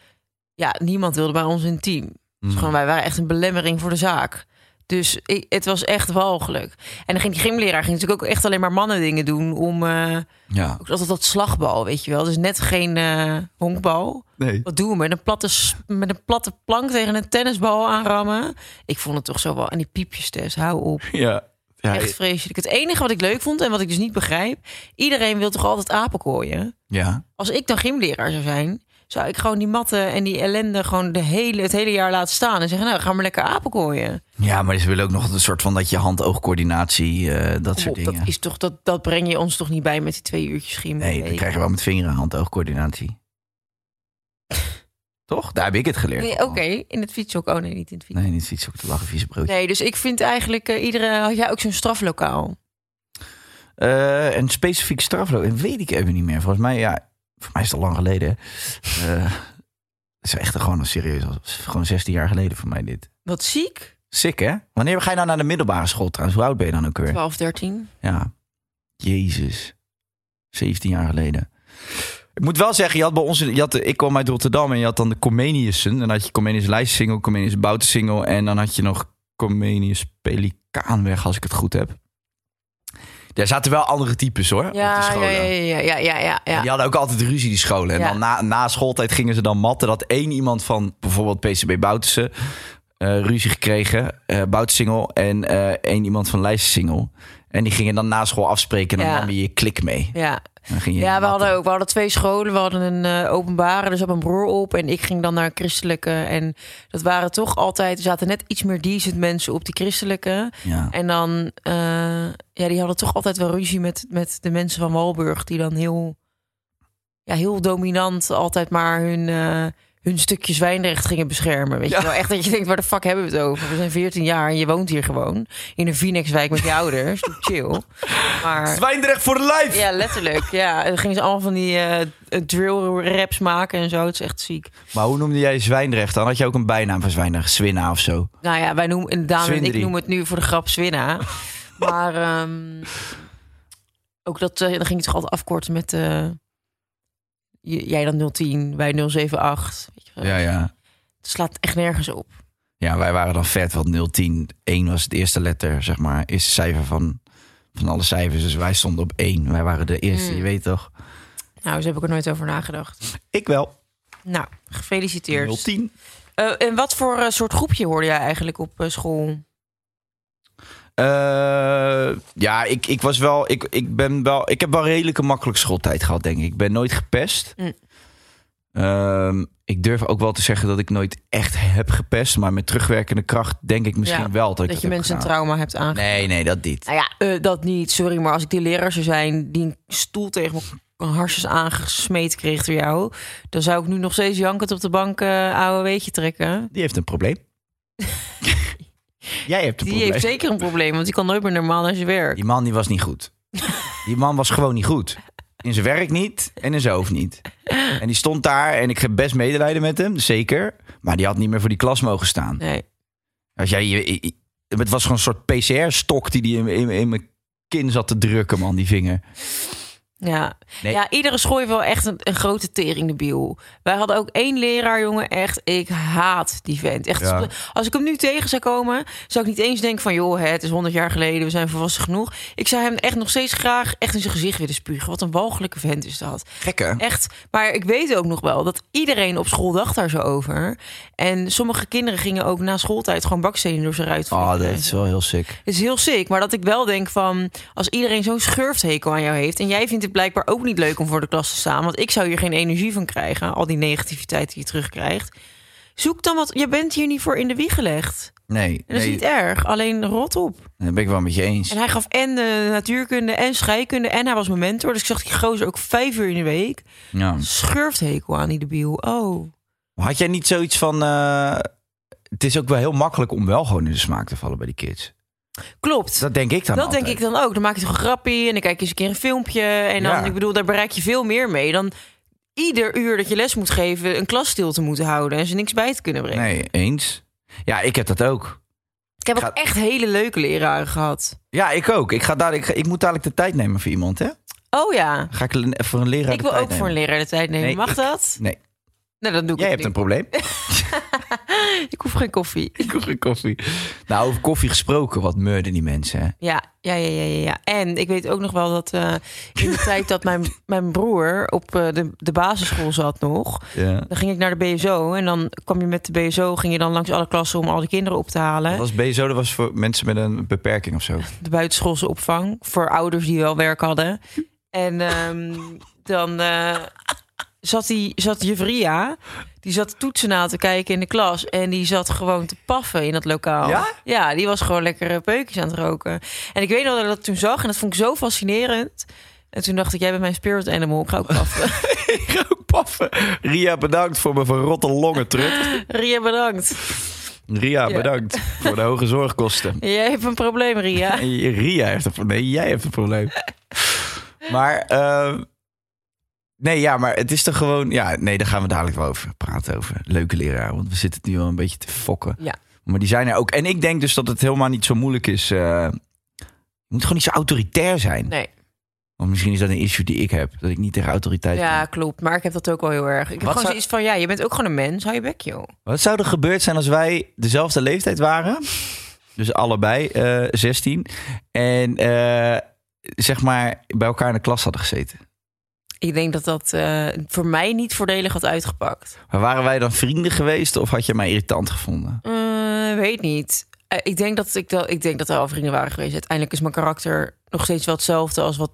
[SPEAKER 4] ja, niemand wilde bij ons in het team. Dus gewoon, wij waren echt een belemmering voor de zaak. Dus ik, het was echt walgelijk. En dan ging die gymleraar ging natuurlijk ook echt alleen maar mannen dingen doen om eh,
[SPEAKER 2] Ja.
[SPEAKER 4] ook altijd dat slagbal, weet je wel. Dus net geen eh, honkbal.
[SPEAKER 2] Nee.
[SPEAKER 4] Wat doen we? Met een, platte, s- met een platte plank tegen een tennisbal aanrammen. Ik vond het toch zo wel. En die piepjes test, hou op.
[SPEAKER 2] Ja. Ja,
[SPEAKER 4] Echt vreselijk. Het enige wat ik leuk vond en wat ik dus niet begrijp... iedereen wil toch altijd apen kooien?
[SPEAKER 2] ja.
[SPEAKER 4] Als ik dan gymleraar zou zijn... zou ik gewoon die matten en die ellende... gewoon de hele, het hele jaar laten staan en zeggen... nou, ga maar lekker apen kooien.
[SPEAKER 2] Ja, maar ze willen ook nog een soort van dat je hand-oogcoördinatie, eh, dat soort
[SPEAKER 4] Kom op,
[SPEAKER 2] dingen.
[SPEAKER 4] Oh, dat, is toch, dat, dat breng je ons toch niet bij met die twee uurtjes gym?
[SPEAKER 2] Nee, dan krijg je wel met vingeren hand-oogcoördinatie. Toch? Daar heb ik het geleerd.
[SPEAKER 4] Nee, Oké, in het fiets ook. Oh nee, niet in het fiets.
[SPEAKER 2] Nee, niet iets ook te lachen, vieze broodje.
[SPEAKER 4] Nee, dus ik vind eigenlijk... eh, iedere, had jij ook zo'n straflokaal?
[SPEAKER 2] Eh, een specifiek strafloop, dat weet ik even niet meer. Volgens mij, ja, voor mij is het al lang geleden. hè. Eh, Het is echt gewoon een serieus, het is gewoon 16 jaar geleden voor mij dit.
[SPEAKER 4] Wat ziek.
[SPEAKER 2] Sick, hè? Wanneer ga je nou naar de middelbare school trouwens? Hoe oud ben je dan ook weer?
[SPEAKER 4] 12, 13.
[SPEAKER 2] Ja. Jezus. 17 jaar geleden. Ik moet wel zeggen, je had bij ons, je had, ik kwam uit Rotterdam en je had dan de Comeniussen. Dan had je Comenius Lijstsingel, Comenius Boutensingel en dan had je nog Comenius Pelikaanweg, als ik het goed heb. Daar zaten wel andere types hoor, op die
[SPEAKER 4] Ja, ja,
[SPEAKER 2] scholen.
[SPEAKER 4] ja, ja, ja, ja, ja,
[SPEAKER 2] En
[SPEAKER 4] ja.
[SPEAKER 2] Die hadden ook altijd ruzie, die scholen. En
[SPEAKER 4] Ja.
[SPEAKER 2] dan na, na schooltijd gingen ze dan matten. Dat één iemand van bijvoorbeeld PCB Boutense eh, ruzie gekregen. eh Boutensingel en eh, één iemand van Leijssingel. En die gingen dan na school afspreken. En dan
[SPEAKER 4] Ja.
[SPEAKER 2] nam je je klik mee.
[SPEAKER 4] Ja,
[SPEAKER 2] En Dan ging je
[SPEAKER 4] ja we,
[SPEAKER 2] matten.
[SPEAKER 4] hadden ook, we hadden twee scholen. We hadden een eh, openbare, dus had mijn broer op. En ik ging dan naar een christelijke. En dat waren toch altijd... Er zaten net iets meer decent mensen op die christelijke.
[SPEAKER 2] Ja.
[SPEAKER 4] En dan... eh, ja, die hadden toch altijd wel ruzie met, met de mensen van Walburg. Die dan heel... Ja, heel dominant altijd maar hun... eh, hun stukje zwijnrecht gingen beschermen. Weet je wel? Echt dat je denkt, waar de fuck hebben we het over? We zijn 14 jaar en je woont hier gewoon. In een Phoenixwijk met je ouders. Doe Chill. Maar...
[SPEAKER 2] Zwijndrecht voor de lijf!
[SPEAKER 4] Ja, letterlijk. Ja, en dan gingen ze allemaal van die eh, drill raps maken en zo. Het is echt ziek.
[SPEAKER 2] Maar hoe noemde jij Zwijndrecht? Dan had je ook een bijnaam van Zwijndrecht. Swinna of zo.
[SPEAKER 4] Nou ja, wij noemen en Daan en ik
[SPEAKER 2] Zwindrie.
[SPEAKER 4] noem het nu voor de grap Swinna. maar ehm, ook dat, eh, dan ging het toch altijd afkorten met eh, j- jij dan 010, wij 078. Weet je wel.
[SPEAKER 2] ja.
[SPEAKER 4] Het slaat echt nergens op.
[SPEAKER 2] Ja, wij waren dan vet, want 010. 1 was het eerste letter, zeg maar. Eerste cijfer van, van alle cijfers. Dus wij stonden op 1. Wij waren de eerste,
[SPEAKER 4] Mm.
[SPEAKER 2] je weet toch?
[SPEAKER 4] Nou, daar heb ik er nooit over nagedacht.
[SPEAKER 2] Ik wel.
[SPEAKER 4] Nou, gefeliciteerd.
[SPEAKER 2] 010.
[SPEAKER 4] Eh, en wat voor eh, soort groepje hoorde jij eigenlijk op eh, school?
[SPEAKER 2] Eh, ja, ik, ik was wel. Ik, ik ben wel. Ik heb wel redelijk een makkelijke schooltijd gehad, denk ik. Ik ben nooit gepest.
[SPEAKER 4] Mm.
[SPEAKER 2] Ehm, ik durf ook wel te zeggen dat ik nooit echt heb gepest. Maar met terugwerkende kracht denk ik misschien
[SPEAKER 4] Ja,
[SPEAKER 2] wel dat ik dat,
[SPEAKER 4] Dat je
[SPEAKER 2] heb nou
[SPEAKER 4] mensen een
[SPEAKER 2] gedaan.
[SPEAKER 4] trauma hebt aangedaan.
[SPEAKER 2] Nee, nee, dat niet.
[SPEAKER 4] Nou ja, eh, dat niet. Sorry, maar als ik die leraar zou zijn die een stoel tegen mijn harsjes aangesmeed kreeg door jou, dan zou ik nu nog steeds jankend op de bank eh oude weetje trekken.
[SPEAKER 2] Die heeft een probleem. Jij hebt een
[SPEAKER 4] Die
[SPEAKER 2] probleem.
[SPEAKER 4] heeft zeker een probleem, want die kan nooit meer normaal naar zijn werk.
[SPEAKER 2] Die man die was niet goed. Die man was gewoon niet goed. In zijn werk niet en in zijn hoofd niet. En die stond daar en ik heb best medelijden met hem, zeker. Maar die had niet meer voor die klas mogen staan.
[SPEAKER 4] Nee,
[SPEAKER 2] Als jij, je- je- het was gewoon een soort PCR-stok die die in, in, in mijn kin zat te drukken, man, die vinger.
[SPEAKER 4] ja.
[SPEAKER 2] Nee.
[SPEAKER 4] Ja, iedere school heeft wel echt een, een grote tering de biel. Wij hadden ook één leraar, jongen, echt, ik haat die vent. Echt,
[SPEAKER 2] Ja.
[SPEAKER 4] Als ik hem nu tegen zou komen, zou ik niet eens denken van... joh, hè, het is 100 jaar geleden, we zijn volwassen genoeg. Ik zou hem echt nog steeds graag echt in zijn gezicht willen spugen. Wat een walgelijke vent is dat.
[SPEAKER 2] Gekke.
[SPEAKER 4] Echt, maar ik weet ook nog wel dat iedereen op school dacht daar zo over. En sommige kinderen gingen ook na schooltijd gewoon bakstenen door zijn ruit
[SPEAKER 2] Oh,
[SPEAKER 4] vliegen.
[SPEAKER 2] dat is wel heel sick.
[SPEAKER 4] Het is heel sick, maar dat ik wel denk van... als iedereen zo'n schurfthekel aan jou heeft... en jij vindt het blijkbaar ook niet leuk om voor de klas te staan... want ik zou hier geen energie van krijgen, al die negativiteit die je terugkrijgt... zoek dan wat... je bent hier niet voor in de wieg gelegd.
[SPEAKER 2] Nee,
[SPEAKER 4] En dat
[SPEAKER 2] nee,
[SPEAKER 4] is niet erg, alleen rot op.
[SPEAKER 2] dat ben ik wel met je eens.
[SPEAKER 4] En hij gaf en eh, natuurkunde en scheikunde en hij was mijn mentor... dus ik zag die gozer ook vijf uur in de week.
[SPEAKER 2] Ja.
[SPEAKER 4] Schurfthekel aan die debiel, oh...
[SPEAKER 2] Had jij niet zoiets van... eh, het is ook wel heel makkelijk om wel gewoon in de smaak te vallen bij die kids.
[SPEAKER 4] Klopt.
[SPEAKER 2] Dat denk ik dan
[SPEAKER 4] Dat
[SPEAKER 2] altijd.
[SPEAKER 4] denk ik dan ook. Dan maak je toch een grapje en dan kijk je eens een keer een filmpje. En dan,
[SPEAKER 2] Ja.
[SPEAKER 4] ik bedoel, daar bereik je veel meer mee dan ieder uur dat je les moet geven, een klas stil te moeten houden en ze niks bij te kunnen brengen.
[SPEAKER 2] Nee, eens. Ja, ik heb dat ook.
[SPEAKER 4] Ik heb ook
[SPEAKER 2] Gaat-
[SPEAKER 4] echt hele leuke leraren gehad.
[SPEAKER 2] Ja, ik ook. Ik, ga daar, ik, ga- ik moet dadelijk de tijd nemen voor iemand, hè?
[SPEAKER 4] Oh ja,
[SPEAKER 2] Ga ik le- voor een leraar
[SPEAKER 4] ik
[SPEAKER 2] de
[SPEAKER 4] wil ook
[SPEAKER 2] tijd
[SPEAKER 4] voor een
[SPEAKER 2] nemen?
[SPEAKER 4] leraar de tijd nemen.
[SPEAKER 2] Nee,
[SPEAKER 4] Mag
[SPEAKER 2] ik-
[SPEAKER 4] dat?
[SPEAKER 2] Nee,
[SPEAKER 4] Nou, dan doe ik
[SPEAKER 2] jij
[SPEAKER 4] het
[SPEAKER 2] hebt een
[SPEAKER 4] niet.
[SPEAKER 2] probleem.
[SPEAKER 4] Ik hoef geen koffie.
[SPEAKER 2] ik hoef geen koffie. Nou, over koffie gesproken, wat meurden die mensen, hè?
[SPEAKER 4] Ja, ja, ja, ja, ja, ja. En ik weet ook nog wel dat eh, in de tijd dat mijn, mijn broer op eh, de, de basisschool zat nog...
[SPEAKER 2] Ja.
[SPEAKER 4] Dan ging ik naar de BSO en dan kwam je met de BSO, ging je dan langs alle klassen om al die kinderen op te halen.
[SPEAKER 2] Dat was BSO, dat was voor mensen met een beperking of zo.
[SPEAKER 4] De buitenschoolse opvang voor ouders die wel werk hadden. En ehm, dan eh, zat, die, zat Jevria, die zat toetsen na te kijken in de klas. En die zat gewoon te paffen in dat lokaal.
[SPEAKER 2] Ja?
[SPEAKER 4] die was gewoon lekkere peukjes aan het roken. En ik weet nog dat ik dat toen zag en dat vond ik zo fascinerend. En toen dacht ik, jij bent mijn spirit animal, ik ga ook paffen.
[SPEAKER 2] ik ga ook paffen. Ria, bedankt voor mijn verrotte longen terug.
[SPEAKER 4] Ria, bedankt.
[SPEAKER 2] Ria,
[SPEAKER 4] Ja.
[SPEAKER 2] bedankt voor de hoge zorgkosten.
[SPEAKER 4] Jij hebt een probleem, Ria.
[SPEAKER 2] Ria heeft een probleem. Nee, jij hebt een probleem. Maar, ehm, nee, ja, maar het is toch gewoon... Ja, nee, daar gaan we dadelijk wel over praten. Over leuke leraar, want we zitten het nu wel een beetje te fokken.
[SPEAKER 4] Ja.
[SPEAKER 2] Maar die zijn er ook. En ik denk dus dat het helemaal niet zo moeilijk is. eh, je moet gewoon niet zo autoritair zijn.
[SPEAKER 4] Nee.
[SPEAKER 2] Want misschien is dat een issue die ik heb. Dat ik niet tegen autoriteit
[SPEAKER 4] Ja,
[SPEAKER 2] kan.
[SPEAKER 4] klopt. Maar ik heb dat ook wel heel erg. Ik heb
[SPEAKER 2] Wat
[SPEAKER 4] gewoon
[SPEAKER 2] zou-
[SPEAKER 4] zoiets van, ja, je bent ook gewoon een mens. Hou je bek, joh.
[SPEAKER 2] Wat zou er gebeurd zijn als wij dezelfde leeftijd waren? Dus allebei eh 16. En eh, zeg maar bij elkaar in de klas hadden gezeten.
[SPEAKER 4] Ik denk dat dat eh, voor mij niet voordelig had uitgepakt.
[SPEAKER 2] Maar waren wij dan vrienden geweest of had je mij irritant gevonden?
[SPEAKER 4] Eh, weet niet. Eh, ik, denk dat ik, wel- ik denk dat er al vrienden waren geweest. Uiteindelijk is mijn karakter nog steeds wel hetzelfde als wat...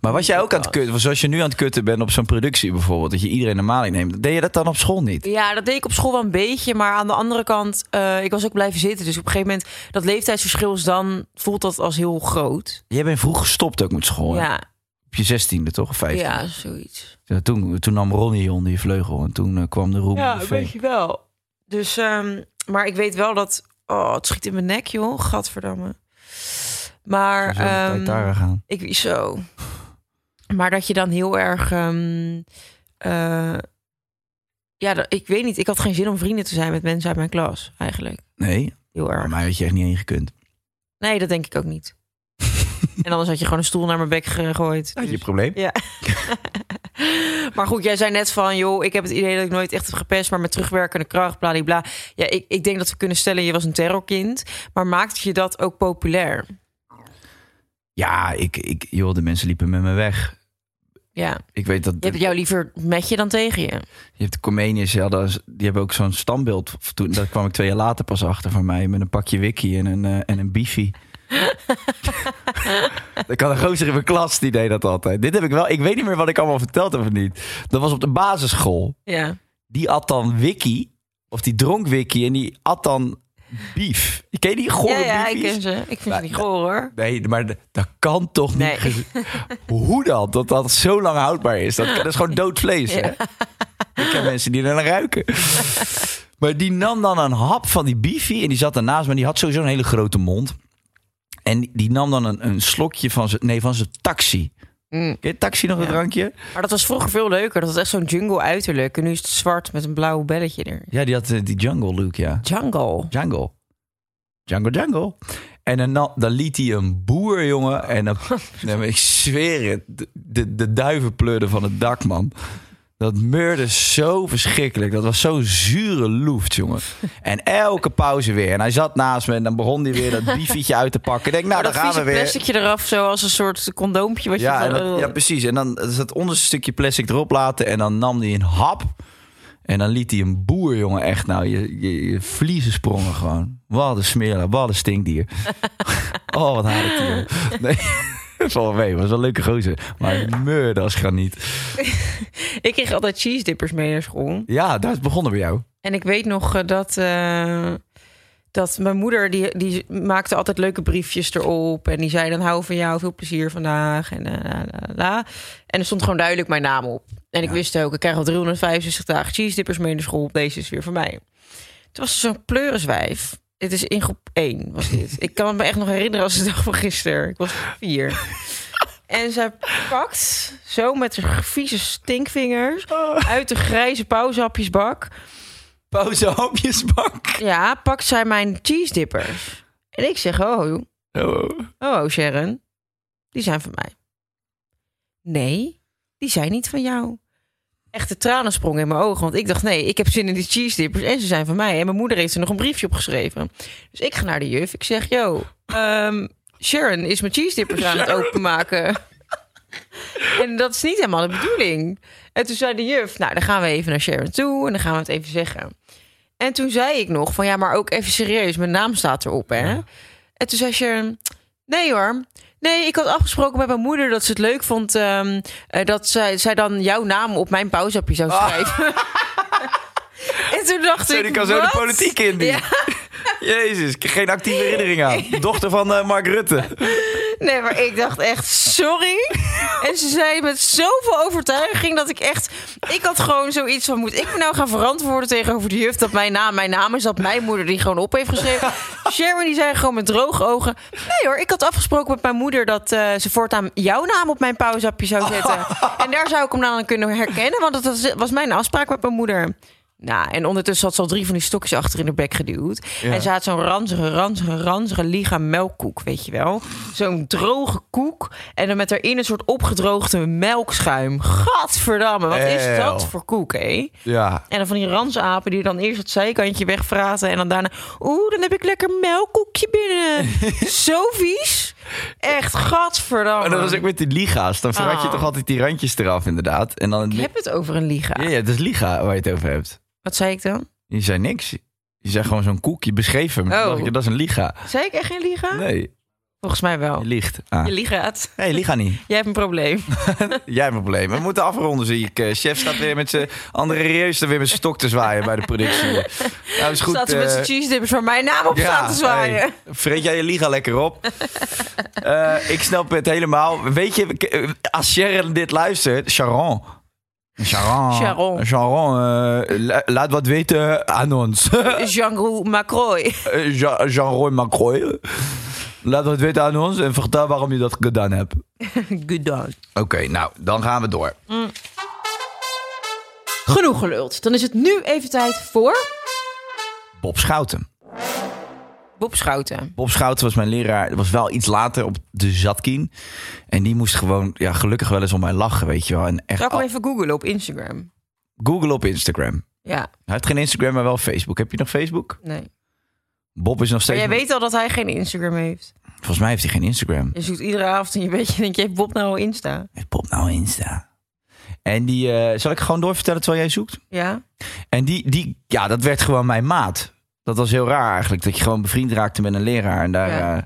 [SPEAKER 2] Maar was jij ook aan het kutten? Zoals je nu aan het kutten bent op zo'n productie bijvoorbeeld, dat je iedereen een maling neemt. Deed je dat dan op school niet?
[SPEAKER 4] Ja, dat deed ik op school wel een beetje. Maar aan de andere kant, eh, ik was ook blijven zitten. Dus op een gegeven moment, dat leeftijdsverschil is dan... voelt dat als heel groot.
[SPEAKER 2] Jij bent vroeg gestopt ook met school. hè?
[SPEAKER 4] Ja,
[SPEAKER 2] Op je zestiende toch? Of Vijftiende?
[SPEAKER 4] ja, zoiets.
[SPEAKER 2] Ja, toen, toen nam Ronnie onder je vleugel en toen eh, kwam de roem. in de vee.
[SPEAKER 4] je wel. Dus, ehm, maar ik weet wel dat... Oh, het schiet in mijn nek, joh. Gadverdamme. Maar...
[SPEAKER 2] Zo zou de tijd
[SPEAKER 4] ehm,
[SPEAKER 2] daar gaan.
[SPEAKER 4] Ik zo. Maar dat je dan heel erg. ehm, eh, ja, dat- ik weet niet. Ik had geen zin om vrienden te zijn met mensen uit mijn klas, eigenlijk.
[SPEAKER 2] Nee,
[SPEAKER 4] Heel
[SPEAKER 2] bij
[SPEAKER 4] erg.
[SPEAKER 2] mij had je echt niet heen gekund.
[SPEAKER 4] Nee, dat denk ik ook niet. en anders had je gewoon een stoel naar mijn bek gegooid.
[SPEAKER 2] Had je
[SPEAKER 4] Dus-
[SPEAKER 2] probleem?
[SPEAKER 4] Ja. maar goed, jij zei net van, joh, ik heb het idee dat ik nooit echt heb gepest, maar met terugwerkende kracht, bladibla. Ja, ik, ik denk dat we kunnen stellen, je was een terrorkind. Maar maakt je dat ook populair?
[SPEAKER 2] Ja, ik, ik, joh, de mensen liepen met me weg.
[SPEAKER 4] Ja.
[SPEAKER 2] Ik weet dat...
[SPEAKER 4] Je hebt jou liever met je dan tegen je.
[SPEAKER 2] Je hebt de Comenius, die, hadden- die hebben ook zo'n standbeeld. Toen, daar kwam ik twee jaar later pas achter van mij. Met een pakje wiki en een, eh, en een bifi. Er kan een gozer in mijn klas die deed dat altijd. Dit heb ik wel. Ik weet niet meer wat ik allemaal verteld heb of niet. Dat was op de basisschool.
[SPEAKER 4] Ja.
[SPEAKER 2] Die at dan wiki. Of die dronk wiki. En die at dan bief. Ken je die gore
[SPEAKER 4] Ja, ja, ik
[SPEAKER 2] biefies?
[SPEAKER 4] ken ze. Ik vind
[SPEAKER 2] Maar-
[SPEAKER 4] ze niet goor hoor.
[SPEAKER 2] Nee, maar d- dat kan toch niet.
[SPEAKER 4] Nee.
[SPEAKER 2] gez- Hoe dan? Dat dat zo lang houdbaar is. Dat, dat is gewoon dood vlees. Hè? Ik ken mensen die er naar ruiken. maar die nam dan een hap van die bifi en die zat daarnaast, maar die had sowieso een hele grote mond. En die nam dan een, een slokje van zijn nee, van zijn taxi.
[SPEAKER 4] Mm.
[SPEAKER 2] Ken je taxi nog een drankje?
[SPEAKER 4] Maar dat was vroeger veel leuker. Dat was echt zo'n jungle uiterlijk. En nu is het zwart met een blauw belletje er.
[SPEAKER 2] Ja, die had eh, die jungle look, ja.
[SPEAKER 4] Jungle.
[SPEAKER 2] Django. Django Django. En dan, nam- dan liet hij een boer, jongen. En dan, nee, maar ik zweer het, de, de, de duiven pleurden van het dak, man. Dat meurde zo verschrikkelijk. Dat was zo'n zure loeft, jongen. En elke pauze weer. En hij zat naast me en dan begon hij weer dat biefietje uit te pakken. Ik denk, nou,
[SPEAKER 4] Maar
[SPEAKER 2] daar
[SPEAKER 4] dat
[SPEAKER 2] gaan we
[SPEAKER 4] vieze
[SPEAKER 2] weer.
[SPEAKER 4] plasticje eraf, zo als een soort condoompje. Wat
[SPEAKER 2] Ja,
[SPEAKER 4] je
[SPEAKER 2] en
[SPEAKER 4] zo-
[SPEAKER 2] dat- ja, precies. En dan dus dat onderste stukje plastic erop laten. En dan nam hij een hap. En dan liet hij een boer, jongen, echt. Nou, je, je, je vliezen sprongen gewoon. Wat een smeerlap, wat een stinkdier. oh, wat haat ik die, joh. Nee, valt wel mee. Was wel een leuke gozer. Maar meurde als graniet.
[SPEAKER 4] Ik kreeg altijd cheese dippers mee naar school.
[SPEAKER 2] Ja, daar is het begonnen bij jou.
[SPEAKER 4] En ik weet nog eh, dat, eh, dat mijn moeder, die, die maakte altijd leuke briefjes erop. En die zei dan, hou van jou, veel plezier vandaag. En, eh, la, la, la. en er stond gewoon duidelijk mijn naam op. En ik wist ook, ik krijg al 365 dagen cheese dippers mee naar school. Deze is weer voor mij. Toen was er zo'n pleuriswijf. Dit is in groep 1 was dit. ik kan het me echt nog herinneren als de dag van gisteren. Ik was vier. En zij pakt zo met haar vieze stinkvingers uit de grijze pauzehapjesbak
[SPEAKER 2] Pauze, hapjesbak.
[SPEAKER 4] ja, pakt zij mijn cheese dippers. En ik zeg, oh,
[SPEAKER 2] Oh.
[SPEAKER 4] oh, Sharon, die zijn van mij. Nee, die zijn niet van jou. Echt de tranen sprongen in mijn ogen, want ik dacht, nee, ik heb zin in die cheese dippers en ze zijn van mij. En mijn moeder heeft er nog een briefje op geschreven. Dus ik ga naar de juf, ik zeg, yo, ehm, Sharon is mijn cheese dippers aan het openmaken. En dat is niet helemaal de bedoeling. En toen zei de juf, nou, dan gaan we even naar Sharon toe en dan gaan we het even zeggen. En toen zei ik nog van ja, maar ook even serieus, mijn naam staat erop, hè? En toen zei Sharon, nee hoor. Nee, ik had afgesproken met mijn moeder dat ze het leuk vond ehm, eh, dat zij, zij dan jouw naam op mijn pauzeappje zou
[SPEAKER 2] Ah.
[SPEAKER 4] schrijven. en toen dacht
[SPEAKER 2] Zo,
[SPEAKER 4] ik.
[SPEAKER 2] die kan zo de
[SPEAKER 4] "Wat?"
[SPEAKER 2] politiek in. Die.
[SPEAKER 4] Ja.
[SPEAKER 2] Jezus, ik heb geen actieve herinnering aan. Dochter van eh, Mark Rutte.
[SPEAKER 4] Nee, maar ik dacht echt, sorry. En ze zei met zoveel overtuiging dat ik echt... Ik had gewoon zoiets van, moet ik me nou gaan verantwoorden tegenover de juf... dat mijn naam mijn naam is, dat mijn moeder die gewoon op heeft geschreven. Sharon die zei gewoon met droge ogen... Nee hoor, ik had afgesproken met mijn moeder dat eh, ze voortaan jouw naam op mijn pauzappje zou zetten. En daar zou ik hem dan aan kunnen herkennen, want dat was- was mijn afspraak met mijn moeder. Nou, en ondertussen had ze al drie van die stokjes achter in de bek geduwd. En ze had zo'n ranzige, ranzige, ranzige liga melkkoek, weet je wel. Zo'n droge koek. En dan met daarin een soort opgedroogde melkschuim. Gadverdamme, wat is
[SPEAKER 2] Eeuw.
[SPEAKER 4] dat voor koek, hé?
[SPEAKER 2] Ja.
[SPEAKER 4] En dan van die ransapen die dan eerst het zijkantje wegvraten. En dan daarna, oeh, dan heb ik lekker melkkoekje binnen. Zo vies. Echt, gadverdamme.
[SPEAKER 2] Maar dat was ook met die liga's. Dan verrat je
[SPEAKER 4] Ah.
[SPEAKER 2] toch altijd die randjes eraf, inderdaad. En dan
[SPEAKER 4] Ik heb het over een liga.
[SPEAKER 2] Ja, ja, het is liga waar je het over hebt.
[SPEAKER 4] Wat zei ik dan?
[SPEAKER 2] Je zei niks. Je zei gewoon zo'n koek. Je beschreef hem. Toen
[SPEAKER 4] Oh.
[SPEAKER 2] dacht ik, dat is een liga.
[SPEAKER 4] Zei ik echt geen liga?
[SPEAKER 2] Nee,
[SPEAKER 4] Volgens mij wel.
[SPEAKER 2] je liegt. Ah.
[SPEAKER 4] Je ligaat.
[SPEAKER 2] Nee, liga niet.
[SPEAKER 4] Jij hebt een probleem.
[SPEAKER 2] Jij hebt een probleem. We moeten afronden, zie ik. Eh, Chef staat weer met zijn andere reus er weer met zijn stok te zwaaien bij de productie. Nou, is goed.
[SPEAKER 4] Staat ze met zijn
[SPEAKER 2] eh,
[SPEAKER 4] cheese dippers waar mijn naam op staat te zwaaien.
[SPEAKER 2] hey, vreet jij je liga lekker op. Eh, ik snap het helemaal. Weet je, k- eh, als Sharon dit luistert... Sharon... Sharon,
[SPEAKER 4] Sharon.
[SPEAKER 2] Sharon eh, la- laat wat weten aan ons.
[SPEAKER 4] Jean-Roux Macroy.
[SPEAKER 2] Eh, Jean- Jean-Roy Macroy. Laat het weten aan ons en vertel waarom je dat gedaan hebt.
[SPEAKER 4] Good done.
[SPEAKER 2] Oké, nou, dan gaan we door.
[SPEAKER 4] Genoeg geluld. Dan is het nu even tijd voor...
[SPEAKER 2] Bob Schouten.
[SPEAKER 4] Bob Schouten.
[SPEAKER 2] Bob Schouten was mijn leraar. Dat was wel iets later op de Zatkien. En die moest gewoon, ja, gelukkig wel eens om mij lachen, weet je wel. En echt
[SPEAKER 4] Zal ik hem
[SPEAKER 2] al-
[SPEAKER 4] even googlen op Instagram?
[SPEAKER 2] Google op Instagram.
[SPEAKER 4] Ja,
[SPEAKER 2] Hij heeft geen Instagram, maar wel Facebook. Heb je nog Facebook?
[SPEAKER 4] nee.
[SPEAKER 2] Bob is nog
[SPEAKER 4] Maar
[SPEAKER 2] steeds...
[SPEAKER 4] jij weet al dat hij geen Instagram heeft.
[SPEAKER 2] Volgens mij heeft hij geen Instagram.
[SPEAKER 4] Je zoekt iedere avond in je beetje en denk je, heeft Bob nou al Insta?
[SPEAKER 2] Heeft Bob nou Insta? En die, eh, zal ik gewoon doorvertellen terwijl jij zoekt?
[SPEAKER 4] Ja?
[SPEAKER 2] En die, die, ja, dat werd gewoon mijn maat. Dat was heel raar eigenlijk. Dat je gewoon bevriend raakte met een leraar. En daar,
[SPEAKER 4] Ja.
[SPEAKER 2] ja.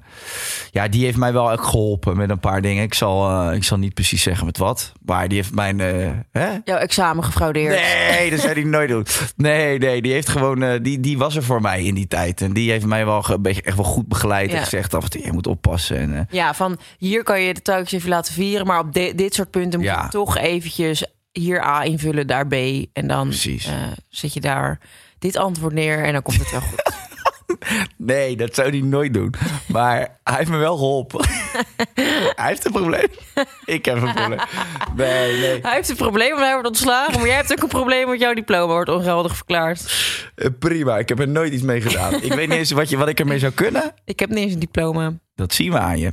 [SPEAKER 2] ja, die heeft mij wel echt geholpen met een paar dingen. Ik zal, eh, ik zal niet precies zeggen met wat. Maar die heeft mijn. eh, hè?
[SPEAKER 4] Jouw examen gefraudeerd.
[SPEAKER 2] Nee, dat zou hij nooit doen. Nee, nee, die heeft gewoon, eh, die, die was er voor mij in die tijd. En die heeft mij wel ge- een beetje echt wel goed begeleid
[SPEAKER 4] Ja.
[SPEAKER 2] en gezegd af en toe, je moet oppassen. En, eh,
[SPEAKER 4] Ja, van hier kan je de tuikjes even laten vieren, maar op de- dit soort punten moet
[SPEAKER 2] Ja.
[SPEAKER 4] je toch eventjes hier A invullen, daar B. En dan
[SPEAKER 2] Precies.
[SPEAKER 4] eh, zet je daar dit antwoord neer en dan komt het wel goed.
[SPEAKER 2] nee, dat zou hij nooit doen. Maar hij heeft me wel geholpen. hij heeft een probleem. Ik heb een probleem. Nee, nee.
[SPEAKER 4] hij heeft een probleem, want hij wordt ontslagen. Maar jij hebt ook een probleem, want jouw diploma wordt ongeldig verklaard.
[SPEAKER 2] Eh, Prima, ik heb er nooit iets mee gedaan. ik weet niet eens wat, je, wat ik ermee zou kunnen.
[SPEAKER 4] Ik heb niet eens een diploma.
[SPEAKER 2] Dat zien we aan je.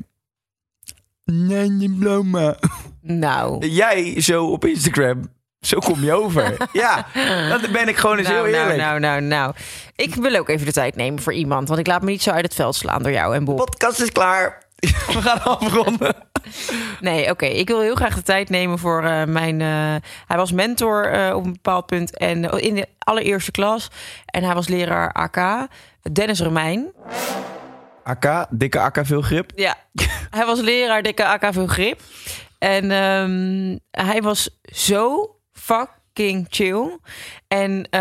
[SPEAKER 2] Nee, diploma.
[SPEAKER 4] Nou,
[SPEAKER 2] Jij zo op Instagram. Zo kom je over. ja, dat ben ik gewoon eens
[SPEAKER 4] nou,
[SPEAKER 2] heel
[SPEAKER 4] nou,
[SPEAKER 2] eerlijk.
[SPEAKER 4] nou, nou, nou. Ik wil ook even de tijd nemen voor iemand, want ik laat me niet zo uit het veld slaan door jou en Bob.
[SPEAKER 2] Podcast is klaar. We gaan afronden.
[SPEAKER 4] Nee, oké. Ik wil heel graag de tijd nemen voor eh, mijn. eh, hij was mentor eh, op een bepaald punt en oh, in de allereerste klas. En hij was leraar AK, Dennis Romein.
[SPEAKER 2] Akka, dikke Akka, veel grip.
[SPEAKER 4] Ja, hij was leraar dikke AK veel grip. En ehm, hij was zo fucking chill. En eh,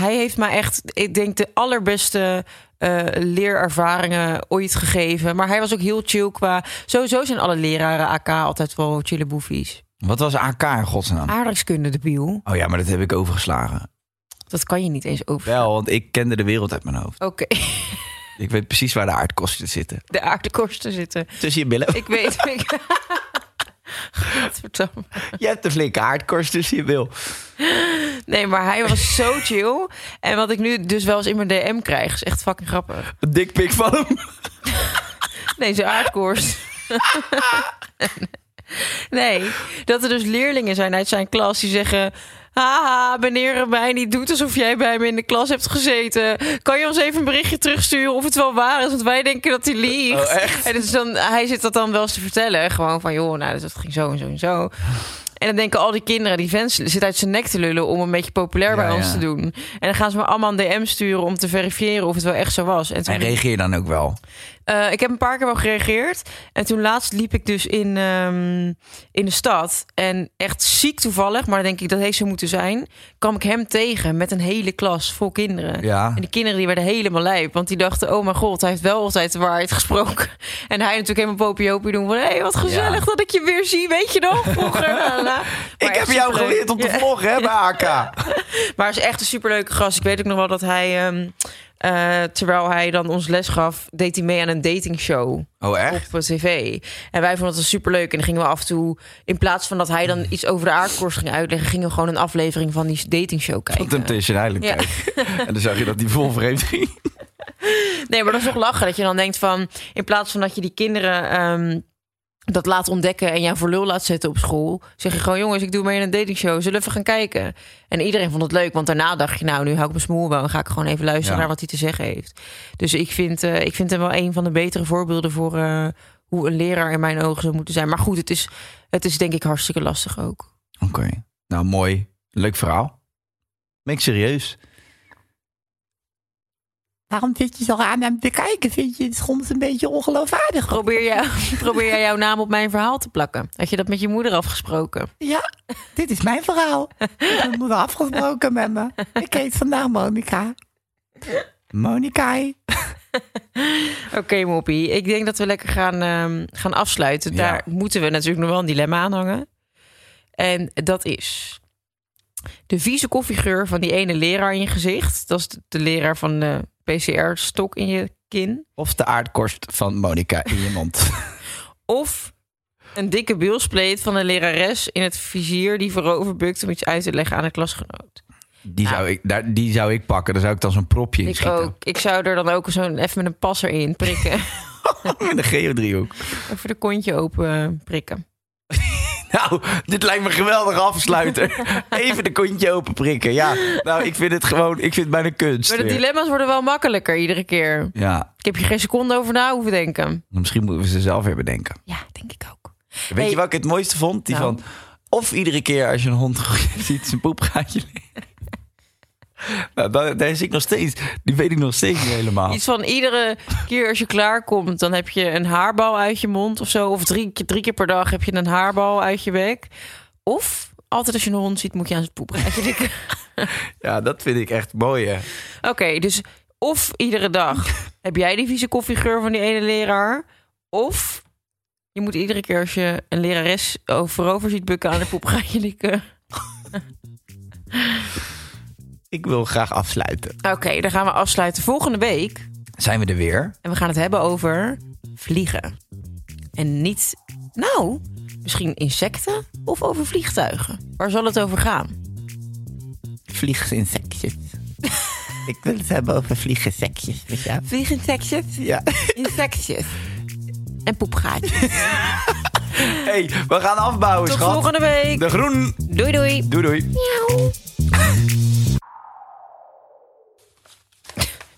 [SPEAKER 4] hij heeft mij echt, ik denk, de allerbeste eh, leerervaringen ooit gegeven. Maar hij was ook heel chill qua. Sowieso zijn alle leraren AK altijd wel chille boefies.
[SPEAKER 2] Wat was AK in godsnaam?
[SPEAKER 4] aardrijkskunde de biel.
[SPEAKER 2] Oh ja, maar dat heb ik overgeslagen.
[SPEAKER 4] Dat kan je niet eens over.
[SPEAKER 2] Wel, want ik kende de wereld uit mijn hoofd.
[SPEAKER 4] Oké,
[SPEAKER 2] Ik weet precies waar de aardkosten zitten.
[SPEAKER 4] de aardekorsten zitten.
[SPEAKER 2] Tussen je billen.
[SPEAKER 4] Ik weet ik... Godverdamme.
[SPEAKER 2] Je hebt een flinke aardkorst tussen je bil.
[SPEAKER 4] Nee, maar hij was zo chill. En wat ik nu dus wel eens in mijn DM krijg, is echt fucking grappig.
[SPEAKER 2] Een dikpik van hem.
[SPEAKER 4] Nee, zijn aardkorst. Nee, dat er dus leerlingen zijn uit zijn klas die zeggen... Haha, meneer Remijn, die doet alsof jij bij me in de klas hebt gezeten. Kan je ons even een berichtje terugsturen of het wel waar is? Want wij denken dat hij liegt.
[SPEAKER 2] Oh, echt?
[SPEAKER 4] En dus dan, hij zit dat dan wel eens te vertellen. Gewoon van, joh, nou, dat ging zo en zo en zo. En dan denken al die kinderen, die fans zitten uit zijn nek te lullen... om een beetje populair
[SPEAKER 2] Ja,
[SPEAKER 4] bij ons
[SPEAKER 2] ja.
[SPEAKER 4] te doen. En dan gaan ze me allemaal een DM sturen om te verifiëren of het wel echt zo was. En toen
[SPEAKER 2] En reageer dan ook wel.
[SPEAKER 4] eh, ik heb een paar keer wel gereageerd. En toen laatst liep ik dus in, ehm, in de stad. En echt ziek toevallig, maar denk ik dat heeft zo moeten zijn. kwam ik hem tegen met een hele klas vol kinderen.
[SPEAKER 2] Ja.
[SPEAKER 4] En die kinderen die werden helemaal lijp. Want die dachten, oh mijn god, hij heeft wel altijd de waarheid gesproken. En hij natuurlijk helemaal popiopie doen. Van, hé, hey, wat gezellig
[SPEAKER 2] Ja.
[SPEAKER 4] dat ik je weer zie. Weet je nog? Vroeger. la, la. Maar
[SPEAKER 2] ik heb
[SPEAKER 4] echt
[SPEAKER 2] jou
[SPEAKER 4] superleuk.
[SPEAKER 2] geleerd om te
[SPEAKER 4] Ja.
[SPEAKER 2] vloggen hè, bij AK.
[SPEAKER 4] Maar hij is echt een superleuke gast. Ik weet ook nog wel dat hij, ehm, eh, terwijl hij dan ons les gaf, deed hij mee aan een datingshow
[SPEAKER 2] Oh, echt?
[SPEAKER 4] op eh, tv. En wij vonden dat superleuk. En dan gingen we af en toe, in plaats van dat hij dan iets over de aardkorst ging uitleggen, gingen we gewoon een aflevering van die datingshow
[SPEAKER 2] Op
[SPEAKER 4] kijken.
[SPEAKER 2] Temptation Island
[SPEAKER 4] Ja.
[SPEAKER 2] kijken. En dan zag je dat die vol vreemd ging.
[SPEAKER 4] Nee, maar dat is toch lachen. Dat je dan denkt van, in plaats van dat je die kinderen ehm, dat laat ontdekken en jou voor lul laat zetten op school, zeg je gewoon, jongens, ik doe mee in een datingshow. Zullen we even gaan kijken? En iedereen vond het leuk, want daarna dacht je, nou, nu hou ik mijn smoel wel en ga ik gewoon even luisteren
[SPEAKER 2] Ja.
[SPEAKER 4] naar wat hij te zeggen heeft. Dus ik vind, eh, ik vind hem wel een van de betere voorbeelden voor eh, hoe een leraar in mijn ogen zou moeten zijn. Maar goed, het is, het is denk ik hartstikke lastig ook.
[SPEAKER 2] Oké. Nou, mooi. Leuk verhaal. Ben ik serieus?
[SPEAKER 3] Waarom zit je zo aan hem te kijken? Vind je het soms een beetje ongeloofwaardig?
[SPEAKER 4] Probeer jij, probeer jij jouw naam op mijn verhaal te plakken? Had je dat met je moeder afgesproken?
[SPEAKER 3] Ja, dit is mijn verhaal. Ik heb mijn moeder afgesproken met me. Ik heet vandaag Monica. Monica.
[SPEAKER 4] Oké, Moppie. Ik denk dat we lekker gaan, ehm, gaan afsluiten.
[SPEAKER 2] Ja.
[SPEAKER 4] Daar moeten we natuurlijk nog wel een dilemma aan hangen. En dat is... De vieze koffiegeur van die ene leraar in je gezicht. Dat is de, de leraar van de PCR-stok in je kin.
[SPEAKER 2] Of de aardkorst van Monica in je mond.
[SPEAKER 4] Of een dikke bielspleet van een lerares in het vizier... die vooroverbukt om iets uit te leggen aan een klasgenoot.
[SPEAKER 2] Die,
[SPEAKER 3] Nou.
[SPEAKER 2] zou ik, daar, die zou ik pakken. Daar zou ik dan zo'n propje in
[SPEAKER 4] Ik,
[SPEAKER 2] schieten.
[SPEAKER 4] ook, ik zou er dan ook zo'n even met een passer in prikken.
[SPEAKER 2] Met een geodriehoek.
[SPEAKER 4] Even de kontje open eh, prikken.
[SPEAKER 2] Nou, dit lijkt me een geweldige afsluiter. Even de kontje open prikken. Ja, nou, ik vind het gewoon... Ik vind het bijna kunst.
[SPEAKER 4] Maar de
[SPEAKER 2] weer.
[SPEAKER 4] dilemma's worden wel makkelijker iedere keer.
[SPEAKER 2] Ja,
[SPEAKER 4] Ik heb je geen seconde over na hoeven denken.
[SPEAKER 2] misschien moeten we ze zelf weer bedenken.
[SPEAKER 4] Ja, denk ik ook.
[SPEAKER 2] Weet
[SPEAKER 4] Hey.
[SPEAKER 2] je wat ik het mooiste vond? Die
[SPEAKER 4] Nou.
[SPEAKER 2] van... Of iedere keer als je een hond ziet, zijn poep gaat je Nou, daar, daar zit ik nog steeds. Die weet ik nog steeds niet helemaal.
[SPEAKER 4] Iets van iedere keer als je klaarkomt, dan heb je een haarbal uit je mond of zo. Of drie, keer- drie keer per dag heb je een haarbal uit je bek. Of altijd als je een hond ziet, moet je aan zijn poep ruiken. Ik denk,
[SPEAKER 2] Ja, dat vind ik echt mooi, hè.
[SPEAKER 4] Oké, dus of iedere dag heb jij die vieze koffiegeur van die ene leraar. Of je moet iedere keer als je een lerares voorover ziet bukken aan de poep gaan je likken.
[SPEAKER 3] Ik wil graag afsluiten.
[SPEAKER 4] Oké, dan gaan we afsluiten volgende week.
[SPEAKER 2] Zijn we er weer?
[SPEAKER 4] En we gaan het hebben over vliegen. En niet, nou, misschien insecten of over vliegtuigen. Waar zal het over gaan?
[SPEAKER 3] Vlieginsekjes. ik wil het hebben over vlieginsekjes met jou.
[SPEAKER 4] Vlieginsectjes,
[SPEAKER 3] Ja.
[SPEAKER 4] insectjes en poepgaatjes.
[SPEAKER 2] hey, we gaan afbouwen,
[SPEAKER 4] Tot
[SPEAKER 2] schat.
[SPEAKER 4] volgende week.
[SPEAKER 2] De groen.
[SPEAKER 4] Doei doei.
[SPEAKER 2] Doei, doei.